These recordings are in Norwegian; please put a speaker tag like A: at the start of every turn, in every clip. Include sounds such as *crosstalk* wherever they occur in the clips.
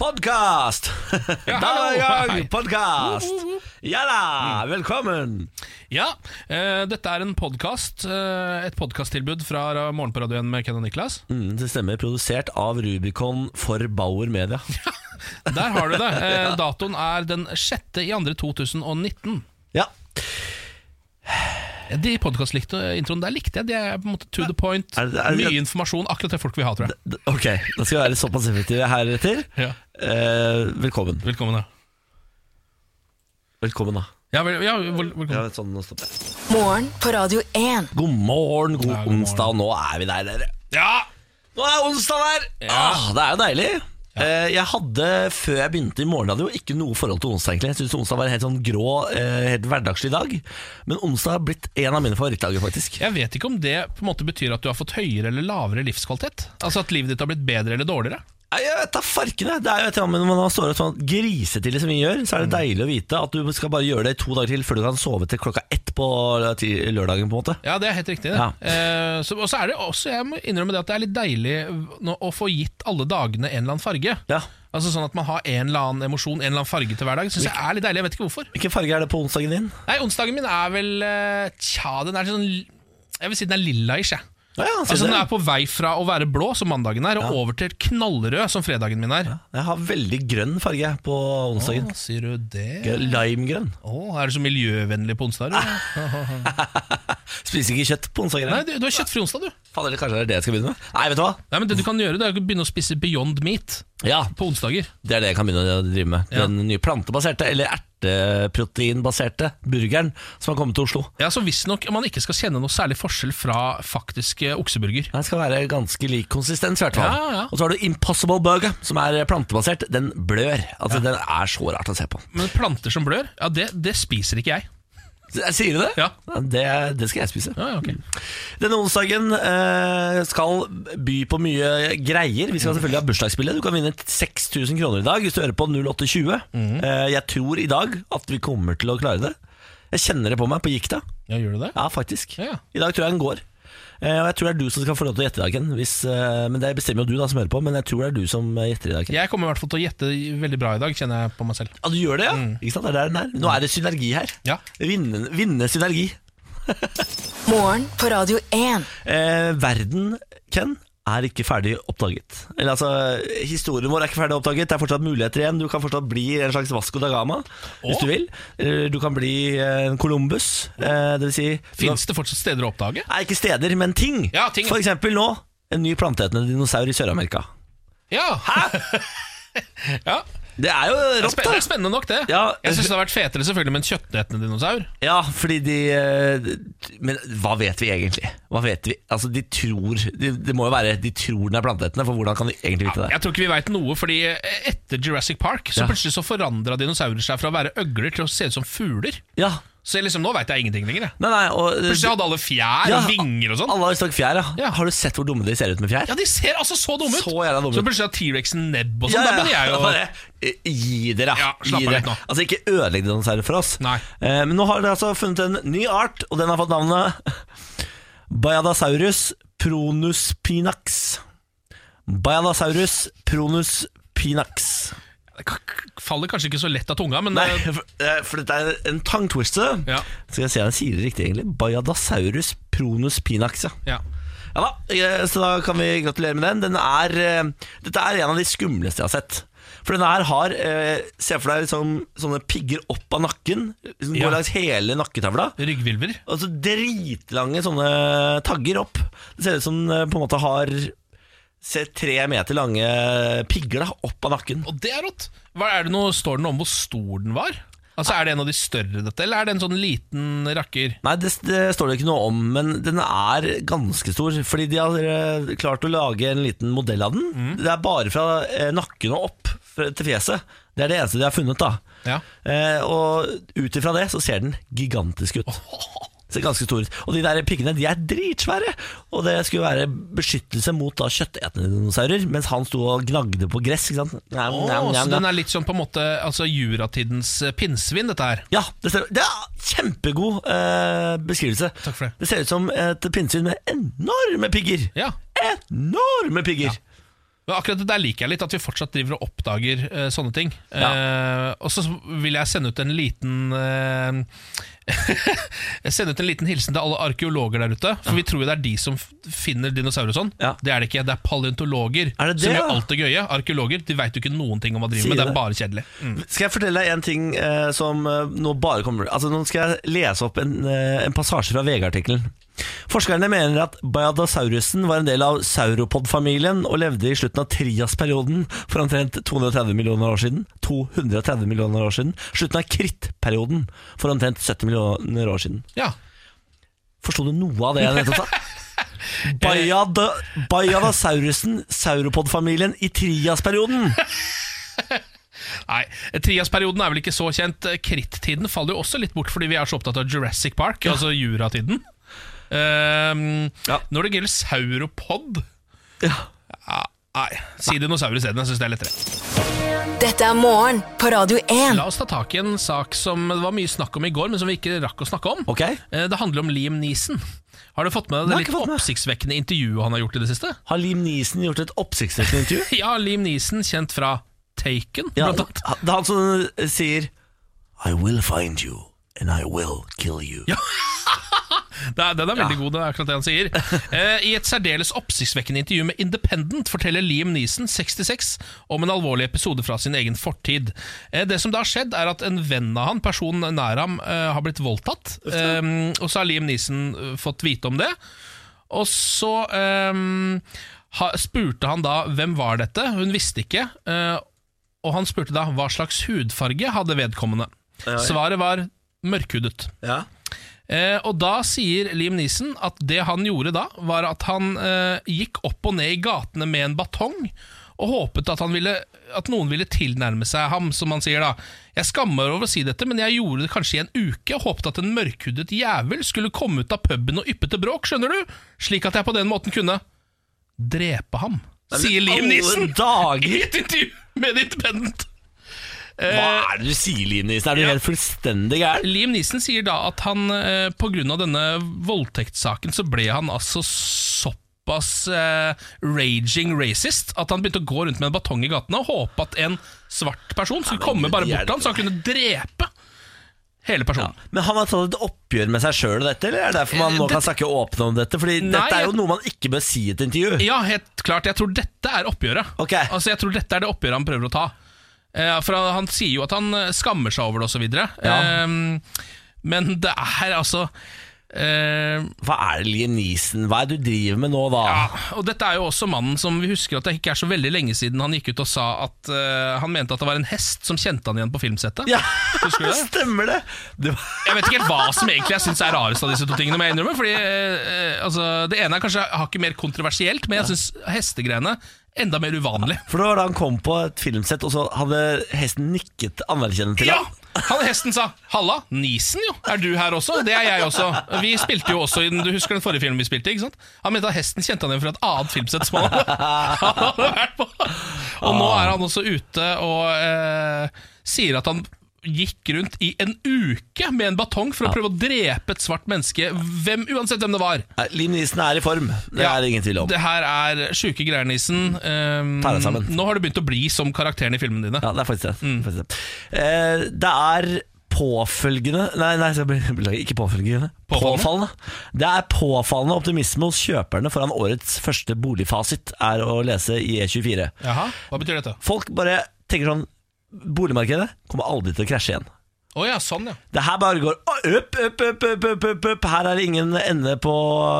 A: Podkast!
B: Ja,
A: *laughs* da er vi i
B: hallo, hei.
A: gang! Podkast! Ja da! Velkommen!
B: Ja, eh, dette er en podkast. eh, et podkasttilbud fra Morgen på radioen med Ken og Niklas.
A: Mm, det stemmer. Produsert av Rubicon for Bauer Media.
B: Der har du det. Eh, datoen er den 6. i andre 2019.
A: Ja,
B: De podkastintroene der likte jeg. De er på en måte to the point.
A: Er det- er det-
B: Mye informasjon. Akkurat det folk vil ha, tror jeg.
A: d- ok. Da skal vi være såpass effektive heretter.
B: Ja.
A: Eh, velkommen.
B: Velkommen, ja.
A: Velkommen, da.
B: Ja, vel, ja, vel, velkommen.
A: Ja, sånn, nå stopper jeg.
C: Morgen på Radio 1.
A: God morgen, god,
B: Ja, god morgen.
A: onsdag. Nå er vi der, dere.
B: Ja!
A: Nå er onsdag der! Ah, det er jo deilig. Eh, Jeg hadde, Før jeg begynte i morgen, hadde jeg jo ikke noe forhold til onsdag. egentlig Jeg syntes onsdag var en helt sånn grå, eh, helt hverdagslig dag. Men onsdag har blitt en av mine favorittdager, faktisk.
B: Jeg vet ikke om det på en måte betyr at du har fått høyere eller lavere livskvalitet. Altså At livet ditt har blitt bedre eller dårligere.
A: Nei, Jeg vet da farkene! Det er jo et eller annet med Når man står opp sånn grisetidlig som vi gjør, så
B: Mm.
A: er det deilig å vite at du skal bare gjøre det i to dager til før du kan sove til klokka ett på ti- lørdagen. på en måte
B: Ja, det er helt riktig. Det.
A: Ja.
B: Eh, så, og så er det også, jeg må innrømme det, at det er litt deilig nå å få gitt alle dagene en eller annen farge.
A: Ja.
B: Altså Sånn at man har en eller annen emosjon, en eller annen farge til hver dag. Synes jeg er litt deilig, jeg vet ikke hvorfor.
A: Hvilken farge er det på onsdagen din?
B: Nei, Onsdagen min er vel eh, Tja, den er sånn Jeg vil si den er lilla-ish. jeg.
A: Ja, ja,
B: Altså,
A: sier
B: den
A: det.
B: er på vei fra å være blå, som mandagen er, og over til knallrød, som fredagen min er.
A: Jeg har veldig grønn farge på onsdagen.
B: Å, sier du det?
A: Limegrønn. *laughs*
B: Å, er du så miljøvennlig på onsdager?
A: Ah.
B: du?
A: Spiser ikke kjøtt på onsdager.
B: Nei,
A: jeg.
B: du, du har kjøttfri onsdag, du.
A: Fader, eller kanskje det er det jeg skal begynne med? Nei, vet du hva?
B: Nei, men Det du kan gjøre, det er å begynne å spise Beyond Meat
A: Ja,
B: på onsdager.
A: Det er det jeg kan begynne å drive med.
B: Ja.
A: Den nye plantebaserte, eller erteproteinbaserte burgeren som har kommet til Oslo.
B: Ja, så Visstnok man ikke skal kjenne noe særlig forskjell fra faktisk eh, okseburger.
A: Den skal være ganske lik konsistens, i hvert fall.
B: Ja, ja.
A: Og så har du Impossible Burger, som er plantebasert. Den blør. Altså, Den er så rart å se på.
B: Men planter som blør, ja, det, det spiser ikke jeg.
A: Sier du det?
B: Ja.
A: Det, det skal jeg spise.
B: Ja, ja, ok.
A: Denne onsdagen eh, skal by på mye greier. Vi
B: Mm.
A: skal selvfølgelig ha bursdagsbilde. Du kan vinne 6000 kroner i dag hvis du hører på 0820.
B: Mm.
A: Eh, jeg tror i dag at vi kommer til å klare det. Jeg kjenner det på meg på gikta.
B: Ja, Gjør du det?
A: Ja, faktisk.
B: Ja.
A: I dag tror jeg den går. Eh, og jeg tror det er du som skal få lov til å gjette i dag, Ken. Hvis, eh, men det bestemmer jo du da som hører på, men jeg tror det er du som eh, gjetter i dag. Ken.
B: Jeg kommer i hvert fall til å gjette veldig bra i dag, kjenner jeg på meg selv.
A: Ja, du gjør det, ja? Ikke sant? Det er der den er. Nå er det synergi her.
B: Mm. Ja.
A: Vinne, vinne synergi.
C: Morgen på Radio 1.
A: Eh, verden, Ken, er ikke ferdig oppdaget. Eller altså, historien vår er ikke ferdig oppdaget. Det er fortsatt muligheter igjen. Du kan fortsatt bli en slags Vasco da Gama, hvis
B: Å.
A: du vil. Eh, Du kan bli eh, en Columbus. Eh, det vil si
B: Fins det fortsatt steder å oppdage?
A: Nei, ikke steder, men ting.
B: Ja, ting.
A: For eksempel nå, en ny planteetende dinosaur i Sør-Amerika.
B: Ja! Hæ? *laughs* ja.
A: Det er jo
B: Det er
A: rått,
B: spen- det er
A: da!
B: spennende nok, det.
A: Ja.
B: jeg syns det hadde vært fetere selvfølgelig med en kjøttetende dinosaur.
A: Ja, fordi de eh, Men hva vet vi egentlig? Hva vet vi? Altså, de tror Det det må jo være de tror den er planteetende, for hvordan kan de egentlig vite det?
B: Jeg tror ikke vi veit noe, fordi etter Jurassic Park Så
A: Ja.
B: plutselig så forandra dinosaurer seg fra å være øgler til å se ut som fugler.
A: Ja,
B: Så jeg liksom, nå veit jeg ingenting lenger. jeg.
A: nei, nei og,
B: Plutselig hadde alle fjær
A: Ja,
B: og vinger og sånn.
A: Alle har visstnok fjær, ja.
B: Ja.
A: Har du sett hvor dumme de ser ut med fjær?
B: Ja, De ser altså så dumme ut!
A: Så jævla dumme ut.
B: Så plutselig har T-rexen nebb og sånn. Da begynner jeg å
A: Bare, eh, Gi dere,
B: Ja,
A: Gi
B: slapp av
A: dere.
B: litt nå.
A: Altså, ikke ødelegg dinosaurer for oss.
B: Nei.
A: Eh, men nå har dere altså funnet en ny art, og den har fått navnet Bayadasaurus pronuspinax. Bayadasaurus pronuspinax.
B: Det k- faller kanskje ikke så lett av tunga, men
A: Nei, *laughs*
B: eh,
A: for, eh, for dette er en tongue twister.
B: Ja.
A: Skal jeg se om jeg sier det riktig, egentlig. Bayadasaurus pronuspinax, ja.
B: ja.
A: Ja da, eh, så da kan vi gratulere med den. den er, eh, dette er en av de skumleste jeg har sett. For denne her har eh, Se for deg liksom, sånne pigger opp av nakken. Som
B: Ja.
A: går langs hele nakketavla.
B: Ryggvilver.
A: Og så dritlange sånne tagger opp. Det ser ut som eh, på en måte har se, tre meter lange pigger da, opp av nakken.
B: Og det er rått! Hva er det nå, Står det noe om hvor stor den var? Altså Er det en av de større, dette, eller er det en sånn liten rakker?
A: Nei, det, det står det ikke noe om, men den er ganske stor. Fordi de har eh, klart å lage en liten modell av den.
B: Mm.
A: Det er bare fra eh, nakken og opp fra- til fjeset. Det er det eneste de har funnet, da.
B: Ja.
A: Eh, og ut ifra det så ser den gigantisk ut.
B: *laughs*
A: Ser ganske stor ut. Og de der piggene de er dritsvære! Og det skulle være beskyttelse mot da kjøttetende dinosaurer, mens han sto og gnagde på gress. ikke sant? Njam,
B: Å,
A: njam,
B: så
A: njam,
B: den
A: njam.
B: er litt sånn på en måte Altså juratidens eh, pinnsvin, dette her.
A: Ja, det, stemmer. det er kjempegod eh, beskrivelse.
B: Takk for det.
A: Det ser ut som et pinnsvin med enorme pigger.
B: Ja.
A: Enorme pigger!
B: Men akkurat det der liker jeg litt, at vi fortsatt driver og oppdager eh, sånne ting. Eh, og så vil jeg sende ut en liten eh, *laughs* Sende ut en liten hilsen til alle arkeologer der ute. For vi tror jo det er de som f- finner dinosaurer og sånn.
A: Ja.
B: Det er det ikke. Det er paleontologer
A: Er det det,
B: som gjør
A: ja?
B: alt det gøye. Arkeologer de veit jo ikke noen ting om hva de
A: Sier
B: driver med. Det
A: det.
B: er bare kjedelig. Mm.
A: Skal jeg fortelle deg en ting eh, som eh, nå bare kommer Altså Nå skal jeg lese opp en, eh, en passasje fra VG-artikkelen. Forskerne mener at Bayadasaurusen var en del av sauropod-familien og levde i slutten av triasperioden for omtrent 230 millioner år siden. 230 millioner år siden Slutten av krittperioden for omtrent 70 millioner år siden.
B: Ja.
A: Forsto du noe av det jeg nettopp
B: *laughs*
A: sa? Bayada, Bayadasaurusen, sauropod-familien i triasperioden.
B: Nei, Triasperioden er vel ikke så kjent. Krittiden faller jo også litt bort fordi vi er så opptatt av Jurassic Park, altså juratiden. Ehm,
A: Ja.
B: Når det gjelder sauropod
A: Ja.
B: Ja, Nei, si dinosaur isteden. Jeg syns det er lettere.
C: Dette er morgen på Radio 1.
B: La oss ta tak i en sak som det var mye snakk om i går, men som vi ikke rakk å snakke om.
A: Ok.
B: Eh, Det handler om Liam Neeson. Har du fått med deg
A: Nei,
B: det
A: ikke
B: litt
A: fått med.
B: oppsiktsvekkende intervjuet han har gjort i det siste?
A: Har Liam Neeson gjort et oppsiktsvekkende intervju?
B: Ja, Liam Neeson, kjent fra Taken,
A: Ja,
B: blant annet.
A: det er han som eh, sier I will find you and I will kill you. Ja,
B: Det er, den er veldig god, det er akkurat det han sier. Eh, I et særdeles oppsiktsvekkende intervju med Independent forteller Liam Neeson, 66, om en alvorlig episode fra sin egen fortid. Eh, det som da har skjedd, er at en venn av han, personen nær ham, eh, har blitt voldtatt. Eh, og så har Liam Neeson eh, fått vite om det. Og så ehm, ha, spurte han da hvem var dette. Hun visste ikke. eh, og han spurte da hva slags hudfarge hadde vedkommende. Svaret var mørkhudet. Eh, og da sier Liam Neeson at det han gjorde da, var at han eh, gikk opp og ned i gatene med en batong og håpet at, han ville, at noen ville tilnærme seg ham, som han sier da. Jeg skammer meg over å si dette, men jeg gjorde det kanskje i en uke og håpet at en mørkhudet jævel skulle komme ut av puben og yppe til bråk, skjønner du? Slik at jeg på den måten kunne drepe ham, sier Liam Neeson i
A: Dager.
B: et intervju med The Independent.
A: Hva er det du sier, Liam Neeson? Er du
B: Eh, Ja.
A: helt fullstendig gæren?
B: Liam Neeson sier da at han eh, pga. denne voldtektssaken så ble han altså såpass eh, raging racist at han begynte å gå rundt med en batong i gatene og håpe at en svart person skulle komme
A: Gud,
B: bare
A: de er
B: bort til ham,
A: det.
B: så han kunne drepe hele personen.
A: Men han har tatt et oppgjør med seg sjøl og dette, eller er det derfor man nå
B: Eh, det-
A: kan snakke åpent om dette? Fordi
B: Nei,
A: dette er jo
B: jeg-
A: noe man ikke bør si i et intervju.
B: Ja, helt klart. Jeg tror dette er oppgjøret.
A: Ok.
B: Altså, jeg tror dette er det oppgjøret han prøver å ta. Eh, for han- han sier jo at han eh, skammer seg over det, osv. videre
A: Ja.
B: Eh, men det er altså eh,
A: Hva er det, Liam Neeson? Hva er det du driver med nå, da?
B: Ja, og dette er jo også mannen som vi husker at det ikke er så veldig lenge siden han gikk ut og sa at eh, han mente at det var en hest som kjente han igjen på filmsettet.
A: Ja,
B: Husker du det?
A: stemmer det! det var...
B: Jeg vet ikke helt hva som egentlig jeg syns er rarest av disse to tingene. må jeg innrømme, fordi eh, altså, Det ene er kanskje hakket mer kontroversielt, men jeg syns hestegreiene enda mer uvanlig.
A: For det var da han kom på et filmsett, og så hadde hesten nikket anerkjennende til
B: Ja!
A: ham.
B: Han hesten sa 'Halla, Nisen jo, er du her også?' Det er jeg også. Vi spilte jo også i den, Du husker den forrige filmen vi spilte? ikke sant? Han mente at hesten kjente han igjen fra et annet filmsett som han hadde, *laughs* han hadde vært på. Og nå er han også ute og eh, sier at han gikk rundt i en uke med en batong for å prøve å drepe et svart menneske, hvem, uansett hvem det var.
A: Nei, Liam Neeson er i form, det
B: Ja,
A: er det ingen tvil om.
B: Det her er sjuke greier, Nisen. Um,
A: Ta deg sammen.
B: nå har du begynt å bli som karakteren i filmene dine.
A: Ja, det er faktisk det.
B: Mm.
A: Faktisk det. Eh, det er påfølgende Nei, nei jeg beklager, ikke påfølgende.
B: Påfallende?
A: Påfallende. Det er påfallende optimisme hos kjøperne foran årets første boligfasit, er å lese i E24.
B: Jaha, Hva betyr dette?
A: Folk bare tenker sånn Boligmarkedet kommer aldri til å krasje igjen.
B: Å ja, sånn, ja.
A: Det her bare går opp, opp, opp, opp, opp, opp, opp. Her er det ingen ende på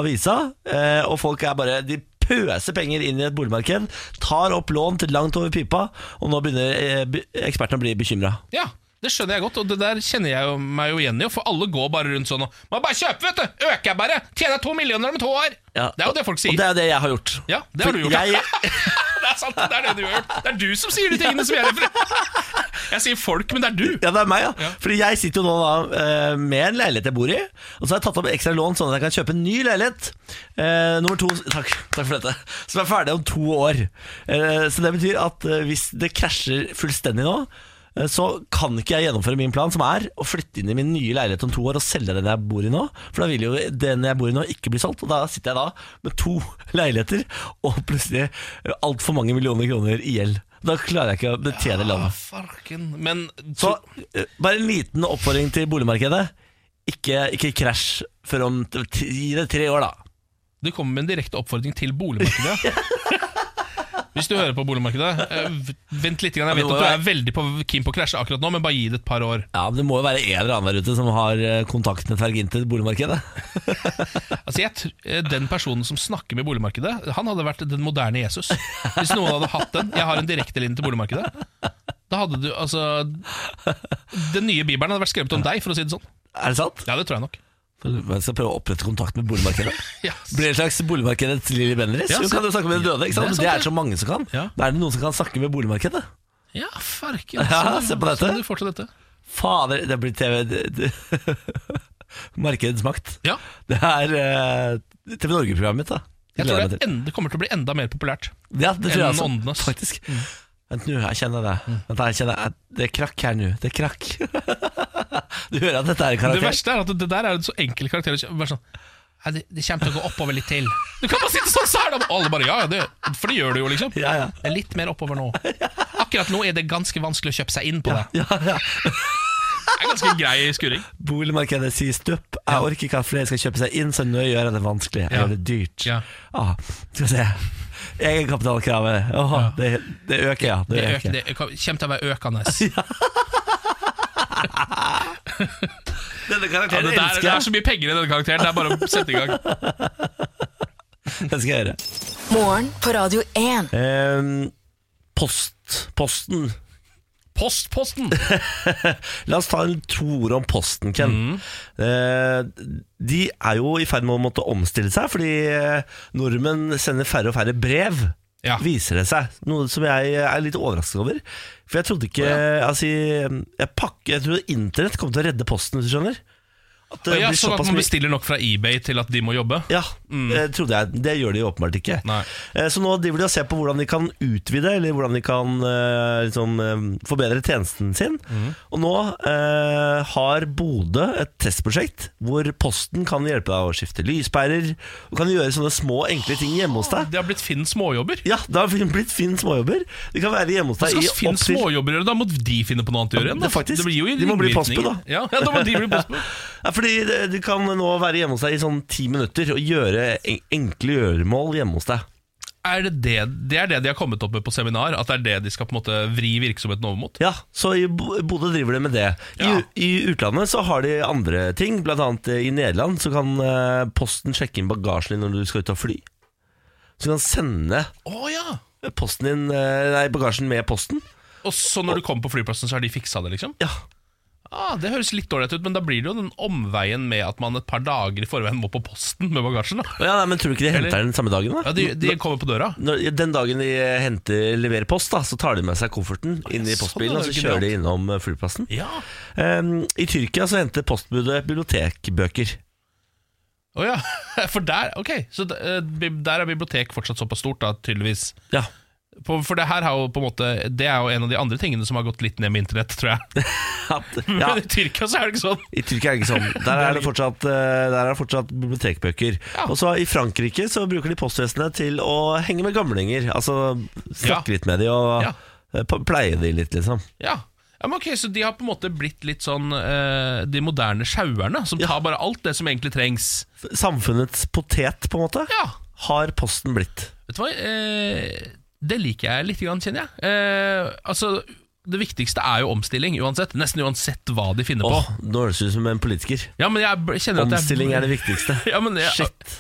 A: visa. Eh, og folk er bare De pøser penger inn i et boligmarked, tar opp lån til langt over pipa, og nå begynner eh, be- ekspertene å bli bekymra.
B: Ja, Det skjønner jeg godt, og det der kjenner jeg jo, meg jo igjen i. For alle går bare rundt sånn og Man bare kjøper, vet du! Øker jeg bare! Tjener to millioner om to år!
A: Ja,
B: Det er jo det folk sier.
A: Og det er det jeg har gjort.
B: Ja, det har
A: For
B: du gjort.
A: Jeg,
B: *laughs* det er sant, det er det du har gjort. Det er du som sier de tingene som jeg refererer Jeg sier folk, men det er du.
A: ja, det er meg, ja.
B: Ja.
A: Fordi jeg sitter jo nå da eh, med en leilighet jeg bor i, og så har jeg tatt opp ekstra lån sånn at jeg kan kjøpe en ny leilighet. Eh, nummer to takk, takk for dette. Som er ferdig om to år. Eh, så det betyr at eh, hvis det krasjer fullstendig nå, eh, så kan ikke jeg gjennomføre min plan, som er å flytte inn i min nye leilighet om to år og selge den jeg bor i nå. For da vil jo den jeg bor i nå, ikke bli solgt. Og da sitter jeg da med to *laughs* leiligheter og plutselig altfor mange millioner kroner i gjeld. Da klarer jeg ikke å betjene landet.
B: Farken. Men
A: Så eh, bare en liten oppfordring til boligmarkedet. Ikke, ikke krasj før om t- ti- gi det tre år, da.
B: Du kommer med en direkte oppfordring til boligmarkedet.
A: *laughs*
B: Hvis du hører på boligmarkedet, eh, v- vent litt. grann. Jeg vet
A: Ja, det
B: at
A: må
B: du er veldig på, keen på å krasje akkurat nå, men bare gi det et par år.
A: Ja, men Det må jo være en eller annen der ute som har eh, kontaktnettverk inn til boligmarkedet.
B: Altså, jeg tr eh, Den personen som snakker med boligmarkedet, han hadde vært den moderne Jesus. Hvis noen hadde hatt den. Jeg har en direktelinje til boligmarkedet. Da hadde du, altså Den nye bibelen hadde vært skrevet om deg, for å si det sånn.
A: Er det sant?
B: Ja, det tror jeg nok.
A: Jeg skal prøve å opprette kontakt med *laughs* boligmarkedet.
B: Ja,
A: Blir det en slags boligmarkedets Lilly Bendriss?
B: Ja,
A: Hun
B: så-
A: kan jo snakke med de døde. ikke
B: Det er
A: sant?
B: sant,
A: Det
B: det.
A: er så mange som kan.
B: Ja.
A: Da er det noen som kan snakke med boligmarkedet.
B: ja farken.
A: Ja,
B: Så-
A: se på dette.
B: så du får til dette.
A: Fader, det blir TV det- det- *laughs* Markedets makt.
B: Ja,
A: Det er eh, TV Norge-programmet mitt, da.
B: jeg
A: Gleder
B: tror
A: meg til.
B: det, er en- det kommer til å bli enda mer populært.
A: Ja, det tror jeg
B: enn
A: altså.
B: åndenes.
A: Faktisk.
B: Mm.
A: Vent nå, jeg kjenner det. Vent, jeg kjenner jeg, Det er krakk her nå. Det er krakk. *laughs* du hører at dette er en
B: Det
A: karakter?
B: verste er at det der er en så enkel karakter. å kjø- Bare sånn «Nei, det, det kommer til å gå oppover litt til. Du kan bare sitte sånn sær! Og alle bare ja, ja, det, for det gjør det jo, liksom.
A: Ja, ja.
B: Det er litt mer oppover nå. Akkurat nå er det ganske vanskelig å kjøpe seg inn på det.
A: Ja, ja.
B: Det er ganske grei skuring.
A: Boligmarkedet sier stopp. Jeg orker ikke at flere skal kjøpe seg inn, så nå gjør jeg det vanskelig. Jeg
B: Ja.
A: gjør det dyrt.
B: Ja.
A: Ah, skal vi se. Egenkapitalkravet. Åh, det, det øker, ja. Det
B: Det, øker,
A: øker.
B: det øker- kommer til å være økende. Ja,
A: Denne
B: det,
A: karakteren
B: der, det er så mye penger i denne karakteren. Det er bare å sette i gang.
A: Det skal jeg gjøre.
C: Morgen på Radio 1.
A: Ehm, post. Posten.
B: Postposten!
A: La oss ta en to ord om Posten, Ken.
B: Mm.
A: Eh, de er jo i ferd med å måtte omstille seg, fordi eh, nordmenn sender færre og færre brev.
B: Ja.
A: Viser det seg. Noe som jeg er litt overrasket over. For jeg trodde ikke Altså, jeg, pakker, jeg trodde internett kom til å redde Posten, hvis du skjønner. At det
B: Ja,
A: blir
B: sånn at
A: såpass
B: man
A: mye
B: bestiller nok fra eBay til at de må jobbe.
A: ja, det trodde jeg. Det gjør de jo åpenbart ikke.
B: Mm. Nei.
A: Eh, Så nå driver de og ser på hvordan de kan utvide, eller hvordan de kan eh, liksom, eh, forbedre tjenesten sin.
B: Mm.
A: Og nå eh, har Bodø et testprosjekt hvor Posten kan hjelpe deg å skifte lyspærer, og kan gjøre sånne små, enkle ting hjemme hos deg.
B: Det har blitt Finn småjobber.
A: Ja, det har blitt Finn småjobber. De kan være hjemme hos
B: Hva
A: deg
B: skal
A: i
B: Finn
A: opptil
B: småjobber gjøre? Da må de finne på noe annet å gjøre igjen. da.
A: Ja, faktisk.
B: Det blir jo
A: De må bli postbud,
B: ringvirkninger.
A: da.
B: Ja, *laughs* ja, da må de bli postbud.
A: Ja, fordi det- Du kan nå være hjemme hos deg i sånn ti minutter og gjøre en- enkle gjøremål hjemme hos deg.
B: Er det, det, det er det de har kommet opp med på seminar? At det er det de skal på en måte vri virksomheten over mot?
A: Ja, så i Bo- Bodø driver de med det. I,
B: Ja.
A: I utlandet så har de andre ting. Blant annet eh, i Nederland så kan eh, Posten sjekke inn bagasjen din når du skal ut og fly. Så du kan sende
B: Å ja!
A: posten din, eh, nei, bagasjen med posten.
B: Og så når du kommer på flyplassen, så har de fiksa det, liksom?
A: Ja,
B: Ah, det høres litt dårlig ut, men da blir det jo den omveien med at man et par dager i forveien må på posten med bagasjen. da
A: Å ja nei, Men tror du ikke de henter den samme dagen? da?
B: Ja, De, de kommer på døra.
A: Når, den dagen de henter, leverer post, da, så tar de med seg kofferten inn i
B: sånn,
A: postbilen og
B: det er
A: så
B: genialt.
A: kjører de innom eh, flyplassen.
B: Ja
A: Em, I Tyrkia så henter postbudet bibliotekbøker.
B: Å ja, *laughs* for der Ok, så d- eh, bib- der er bibliotek fortsatt såpass stort, da, tydeligvis. *laughs*
A: Ja,
B: På, for det her har jo på en måte Det er jo en av de andre tingene som har gått litt ned med internett, tror jeg.
A: at,
B: Men
A: *laughs* ja.
B: i Tyrkia så er det ikke sånn.
A: I Tyrkia er det ikke sånn.
B: *laughs*
A: Der er det fortsatt, eh, der er det fortsatt bibliotekbøker.
B: Ja.
A: Og så I Frankrike så bruker de postvesenet til å henge med gamlinger. Altså snakke
B: Ja.
A: litt med de og
B: Ja.
A: eh, pa- pleie de litt, liksom.
B: Ja. ja, men ok, Så de har på en måte blitt litt sånn eh, de moderne sjauerne, som tar bare alt det som egentlig trengs.
A: Samfunnets potet, på en måte,
B: Ja,
A: har Posten blitt.
B: vet du hva? Eh, det liker jeg litt, grann, kjenner jeg. Eh, altså, det viktigste er jo omstilling, uansett. Nesten uansett hva de finner på.
A: Åh, nå høres det ut som en politiker.
B: Ja, men jeg b- kjenner at jeg
A: Omstilling
B: *laughs*
A: er det viktigste.
B: Ja, men jeg,
A: Shit.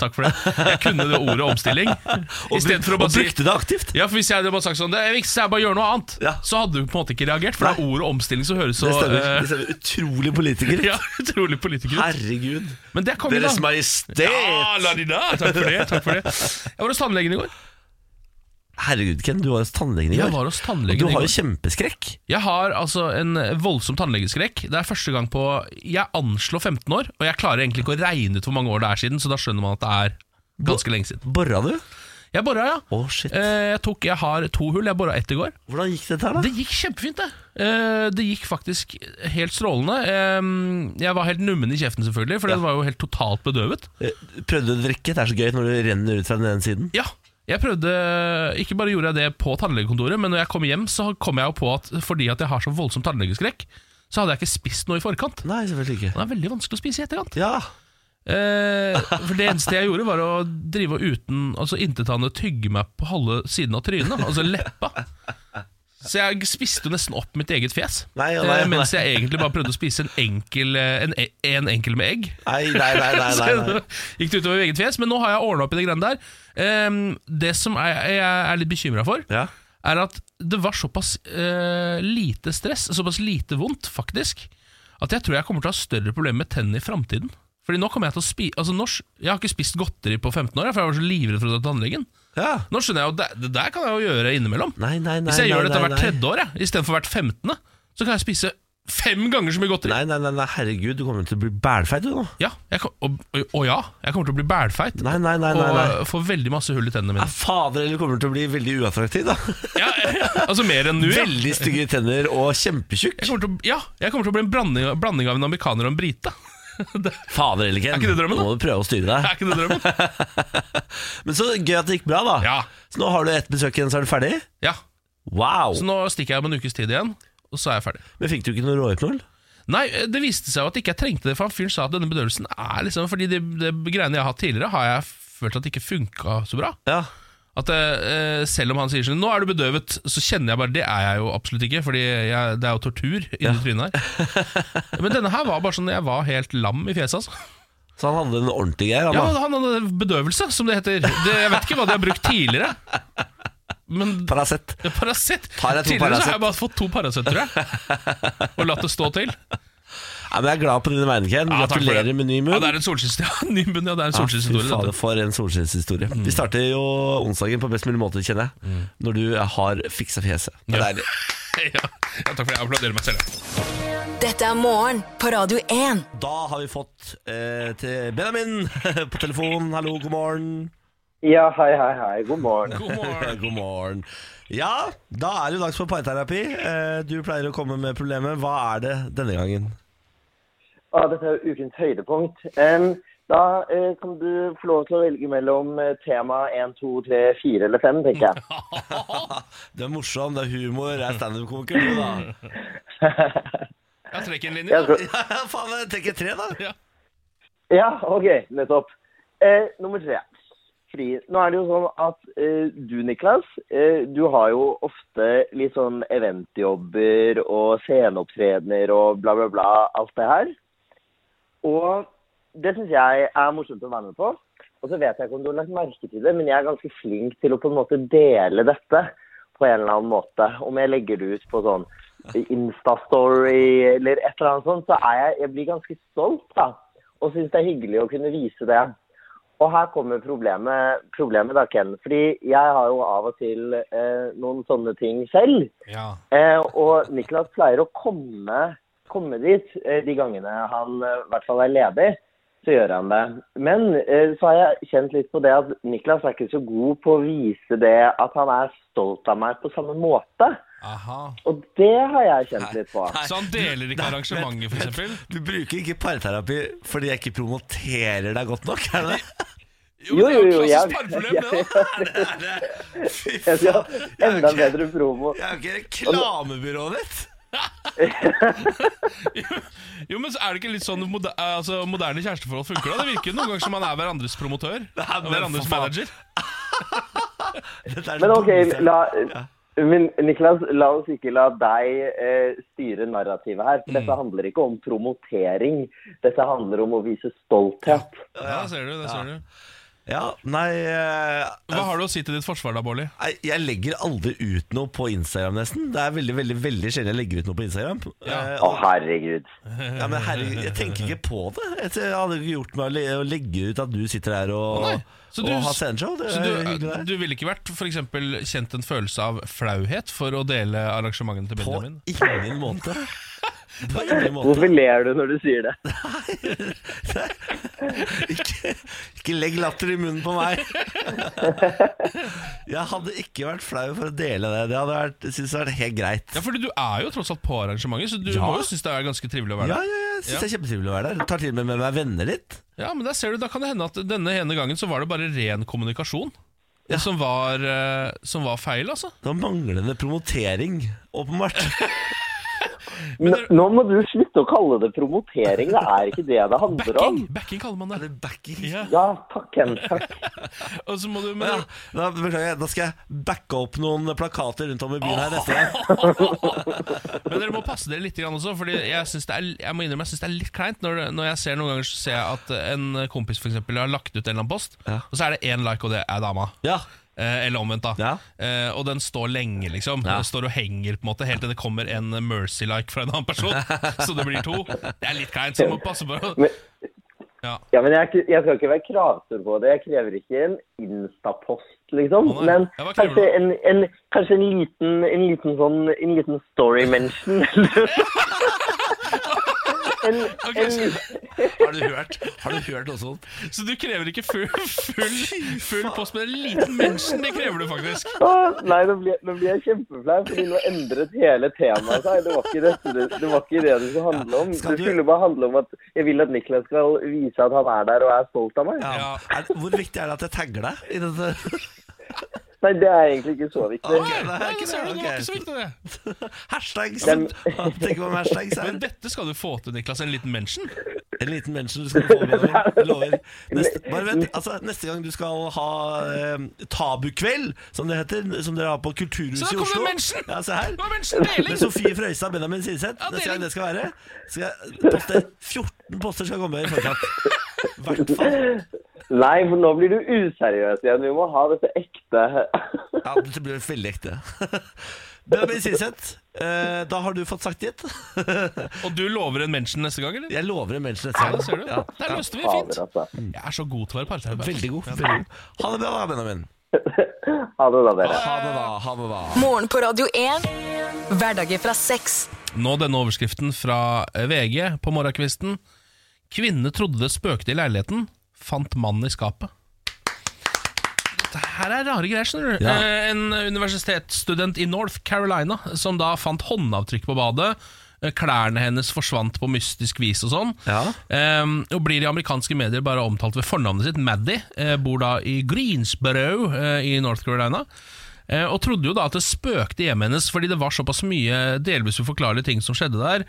B: Takk for det. Jeg kunne det ordet omstilling. I stedet for
A: *laughs*
B: å
A: og
B: bare si
A: brukte det aktivt.
B: ja, for Hvis jeg hadde bare sagt sånn Det er viktigst er bare å gjøre noe annet,
A: Ja.
B: så hadde du på en måte ikke reagert. For det er ordet omstilling som høres så
A: det stemmer.
B: eh,
A: Det stemmer. Utrolig politiker.
B: *laughs* ja, utrolig politiker ut.
A: Herregud.
B: Men det kom vi da.
A: Deres Majestet!
B: Ja, la de da. Takk for det. takk for det Jeg var hos tannlegen i går.
A: Herregud, Ken, du var hos tannlegen i
B: Jeg
A: går.
B: var hos
A: Og Du
B: tannlegen i
A: har
B: går
A: jo kjempeskrekk.
B: Jeg har altså en voldsom tannlegeskrekk. Det er første gang på Jeg anslår 15 år, og jeg klarer egentlig ikke å regne ut hvor mange år det er siden, så da skjønner man at det er ganske lenge siden.
A: Borra du?
B: Jeg bora, ja.
A: Å, shit.
B: Eh, Jeg, tok, jeg har to hull. Jeg bora ett i går.
A: Hvordan gikk dette her, da?
B: Det gikk kjempefint, det. Eh, Det gikk faktisk helt strålende. Eh, Jeg var helt nummen i kjeften, selvfølgelig, for den var jo helt totalt bedøvet.
A: Eh, Prøvde du å drikke? Det er så gøy når det renner ut fra den ene siden.
B: Ja, jeg prøvde Ikke bare gjorde jeg det på tannlegekontoret, men når jeg kom hjem, så kom jeg jo på at fordi at jeg har så voldsom tannlegeskrekk, så hadde jeg ikke spist noe i forkant.
A: Nei, selvfølgelig ikke.
B: Det er veldig vanskelig å spise i etterkant.
A: Ja,
B: Eh, for det eneste jeg gjorde, var å drive og uten Altså intetanende tygge meg på halve siden av trynet, altså leppa. Så jeg spiste jo nesten opp mitt eget fjes,
A: Nei, nei,
B: eh, mens jeg egentlig bare prøvde å spise en enkel, eh, en, e- en enkel med egg.
A: Nei, nei, nei, nei, nei, nei.
B: *laughs* Så gikk det utover eget fjes, men nå har jeg ordna opp i det greiene der. Ehm, det som jeg, jeg er litt bekymra for,
A: Ja.
B: er at det var såpass eh, lite stress, såpass lite vondt, faktisk, at jeg tror jeg kommer til å ha større problemer med tennene i framtiden. Fordi nå kommer Jeg til å spi Altså norsk, Jeg har ikke spist godteri på 15 år, jeg, for jeg var så livredd for å dra til tannlegen.
A: ja.
B: Nå skjønner jeg jo, det, det der kan jeg jo gjøre innimellom.
A: Nei, nei, nei.
B: Hvis jeg
A: nei,
B: gjør dette
A: nei,
B: hvert
A: nei.
B: tredje år jeg, istedenfor hvert femtende, så kan jeg spise fem ganger så mye godteri.
A: Nei, nei, nei, nei, herregud, du kommer til å bli bælfeit du nå.
B: Ja, jeg kom, og, og, og ja, jeg kommer til å bli bælfeit
A: Nei, nei, nei, nei,
B: og
A: nei.
B: eh, få veldig masse hull i tennene
A: Ja, *laughs*
B: mine.
A: fader, eller du kommer til å bli veldig uattraktiv, da.
B: Ja, *laughs* altså mer enn nå. Ja.
A: Veldig stygge tenner og kjempetjukk.
B: Jeg kommer, til å, ja, jeg kommer til å bli en blanding, blanding av en amerikaner og en brite. *laughs* Det,
A: Fader eller Ken,
B: Er ikke det drømmen, da?
A: nå må du prøve å styre
B: er
A: deg.
B: ikke det drømmen?
A: Men så gøy at det gikk bra, da.
B: Ja.
A: Så nå har du ett besøk igjen, så er du ferdig?
B: Ja,
A: Wow!
B: Så nå stikker jeg om en ukes tid igjen, og så er jeg ferdig.
A: Men fikk du ikke noe råhypnol?
B: Nei, det viste seg jo at ikke jeg trengte det, for han fyren sa at denne bedøvelsen er liksom Fordi de, de greiene jeg har hatt tidligere, har jeg følt at det ikke funka så bra.
A: Ja.
B: At eh, Selv om han sier sånn 'nå er du bedøvet', så kjenner jeg bare Det er jeg jo absolutt ikke, Fordi jeg, det er jo tortur inni trynet her. Men denne her var bare sånn jeg var helt lam i fjeset, altså.
A: Så han hadde en ordentlig greie, han
B: Ja,
A: da.
B: han hadde bedøvelse, som det heter. Det, jeg vet ikke hva de har brukt tidligere. Men
A: Paracet.
B: Paracet
A: Tar jeg to
B: Tidligere så
A: Paracet?
B: har jeg bare fått to Paracet, tror jeg. Og latt det stå til.
A: Ja, men jeg er glad på dine vegne, Ken.
B: Ja, takk for
A: Gratulerer
B: det.
A: med ny
B: Ja,
A: munn.
B: det er en solskinnshistorie. *laughs* Ja, ny munn, ja, det er
A: Ja,
B: en
A: fy
B: solskinnshistorie.
A: fader,
B: dette. Mm.
A: for en solskinnshistorie. Vi starter jo onsdagen på best mulig måte, kjenner jeg. Når du har fiksa fjeset. Det er
B: Ja.
A: deilig.
B: *laughs* Ja, ja, takk for det. Jeg applauderer meg selv. jeg.
C: Dette er morgen på Radio 1.
A: Da har vi fått eh, til Benjamin *laughs* på telefon. Hallo, god morgen. Eh,
D: Ja, hei, hei, hei. God morgen.
B: God
D: *laughs*
B: morgen.
A: God morgen. Ja, da er det jo dags for parterapi. Eh, Du pleier å komme med problemet. Hva er det denne gangen?
D: Ah, dette er jo ukens høydepunkt. Em, da eh, kan du få lov til å velge mellom eh, tema 1, 2, 3, 4 eller 5, tenker jeg.
A: Du er morsom, *laughs* det er humor, det er standup-komiker, du, da.
B: Jeg trekker en linje.
D: Jeg tror-
A: *laughs* Ja, faen, jeg tenker tre, da.
B: Ja.
D: Ja, ok, nettopp. Eh, nummer tre. Fri. Nå er det jo sånn at eh, du, Niklas, eh, du har jo ofte litt sånn eventjobber og sceneopptredener og bla, bla, bla, alt det her. Og det syns jeg er morsomt å være med på. Og så vet jeg ikke om du har lagt merke til det, men jeg er ganske flink til å på en måte dele dette på en eller annen måte. Om jeg legger det ut på sånn Insta-story eller et eller annet sånt, så er jeg, jeg blir ganske stolt, da. Og syns det er hyggelig å kunne vise det. Og her kommer problemet, problemet da, Ken. Fordi jeg har jo av og til eh, noen sånne ting selv.
B: Ja.
D: Eh, og Niklas pleier å komme, komme dit eh, de gangene han eh, i hvert fall er ledig. Så gjør han det. Men eh, så har jeg kjent litt på det at Niklas er ikke så god på å vise det at han er stolt av meg på samme måte.
B: Aha.
D: Og det har jeg kjent litt på.
B: Så han deler ikke arrangementet, for eksempel?
A: Du bruker ikke parterapi fordi jeg ikke promoterer deg godt nok, er det *laughs* det?
D: Jo, jo, jo,
B: Det er jo
D: jeg-
B: klassisk parproblem, det,
D: *laughs*
B: da.
A: Fy
D: Jeg
A: faen. *laughs*
D: skal ha enda
A: ok.
D: bedre promo.
A: Jeg er jo ikke reklamebyrået ditt.
B: Jo, men så er det ikke litt sånn moder eh, altså, moderne kjæresteforhold funker da? Det virker jo noen ganger som han er hverandres promotør. Og
A: men for
B: hverandres
A: faen.
B: manager.
A: Dette er
D: Men
A: det
D: OK,
A: dummeste jeg-
D: la, Men Niklas, la oss ikke la deg eh, styre narrativet her.
B: Mm.
D: For dette handler ikke om promotering. Dette handler om å vise stolthet.
B: Ja, ser du, det ser du.
A: Ja, nei eh,
B: Hva har du å si til ditt forsvar da, Bårli?
A: Nei, Jeg legger aldri ut noe på Instagram nesten Det er veldig, veldig, veldig sjelden jeg legger ut noe på Instagram
B: Ja.
A: Eh,
D: Å, herregud.
A: ja, men herregud, jeg tenker ikke på det Jeg hadde ikke gjort meg å le- å legge ut at du sitter her og,
B: Nei. Så du-
A: og har sceneshow Det
B: Så
A: er
B: du,
A: hyggelig det.
B: du ville ikke vært for eksempel, kjent en følelse av flauhet for å dele arrangementene til
A: På
B: Benjamin?
A: ingen måte På ingen måte
D: Hvorfor ler du når du sier det?
A: ikke, ikke legg latter i munnen på meg. Jeg hadde ikke vært flau for å dele det. Det hadde vært, synes jeg hadde vært helt greit.
B: Ja, fordi du er jo tross alt på arrangementet, så du
A: Ja.
B: må jo synes det er ganske trivelig å være
A: Ja, ja,
B: der.
A: jeg synes det er kjempetrivelig å være der. Tar til og med med meg venner litt.
B: Ja, men der ser du, Da kan det hende at denne ene gangen så var det bare ren kommunikasjon som, var, eh, som var feil, altså.
A: Det var manglende promotering, åpenbart.
D: Nå, nå må du slutte å kalle det promotering. Det er ikke det det handler om.
B: Backing, backing kaller man
A: Er
B: det.
A: det backing?
B: Ja.
D: Ja, takk, Ken. Takk.
B: Og så må du, men,
A: Ja, da, beklager jeg, da skal jeg backe opp noen plakater rundt om i byen her neste gang.
B: men dere må passe dere litt grann også, Fordi jeg, synes det er, jeg må innrømme jeg syns det er litt kleint når, det- når jeg ser noen ganger så ser jeg at en kompis for eksempel, har lagt ut en eller annen post,
A: Ja.
B: og så er det én like, og det er dama.
A: Ja.
B: Eh, eller omvendt, da.
A: Ja.
B: Eh, og den står lenge, liksom.
A: Ja.
B: Den står og henger på en måte helt til det kommer en mercy-like fra en annen person. så det blir to. Det er litt kleint, så du må passe på. å-
D: Men-
B: Ja.
D: Ja, men jeg, er ikke- jeg skal ikke være kravstor på det. Jeg krever ikke en Insta-post, liksom.
B: Å, nei.
D: Men
B: Ja, hva krever
D: kanskje
B: du?
D: en, en, kanskje en liten, en liten sånn En liten *laughs* story-mention. en,
B: Ok,
D: en,
B: så,
A: Har du hørt, har du hørt noe sånt?
B: så du krever ikke full, full, full post, men en liten mensen, det krever du faktisk.
D: å, nei, nå blir, nå blir jeg kjempeflau, fordi nå endret hele temaet seg. Det var ikke, dette, det- det, var ikke det det skulle handle om.
A: skal
D: Det
A: du-
D: skulle bare handle om at jeg vil at Niklas skal vise at han er der og er stolt av meg.
A: Ja.
B: Ja.
A: Er, hvor viktig er det at jeg tagger deg? I dette? *laughs*
D: Nei, det er egentlig ikke så viktig.
A: Ok, det er
B: Nei,
A: ikke
B: det, ser du,
A: det,
B: det var
A: ok.
B: ikke så viktig, det.
A: Hashtags.
D: Den-
A: Tenk på hashtags her.
B: Men dette skal du få til, Niklas. En liten mensen.
A: En liten mention du skal få, Benjamin. Jeg lover. Neste, bare vent, altså, neste gang du skal ha eh, tabukveld, som det heter, som dere har på
B: Så
A: Kulturhuset
B: da
A: i
B: kommer
A: Oslo
B: mensen!
A: Ja, se her.
B: Det var mensendeling!
A: Med Sofie Frøystad og Benjamin Sinseth.
B: Ja,
A: Neste
B: deling.
A: gang det skal være, skal jeg poste 14 poster skal komme i forkant. Hvert fall.
D: Nei, for nå blir du useriøs igjen. Vi må ha dette ekte. *laughs*
A: Ja, dette blir veldig ekte. *laughs* Benjamin Sinseth, eh, da har du fått sagt ditt. *laughs*
B: Og du lover en mensen neste gang, eller?
A: Jeg lover en mention
B: Ja,
A: neste
B: det ser
A: gang.
B: du.
A: Ja,
B: Der løste vi
D: Fader,
B: fint.
D: altså.
B: Jeg er så god til å være parterapeut.
A: veldig god. Veldig god. Ha det bra, da, Benjamin.
D: Ha det da, dere.
A: Ha det da. Ha det da.
C: Morgen på Radio 1. Hverdager fra seks.
B: Nå denne overskriften fra VG på morgenkvisten. Kvinne trodde det spøkte i leiligheten, fant mannen i skapet. Dette her er rare greier, skjønner du.
A: Ja.
B: Eh, En universitetsstudent i North Carolina som da fant håndavtrykk på badet. eh, Klærne hennes forsvant på mystisk vis og sånn.
A: Ja.
B: Ehm, og blir i amerikanske medier bare omtalt ved fornavnet sitt, Maddie. eh, bor da i Greensboro eh, i North Carolina. Eh, og trodde jo da at det spøkte i hjemmet hennes, fordi det var såpass mye delvis uforklarlige ting som skjedde der.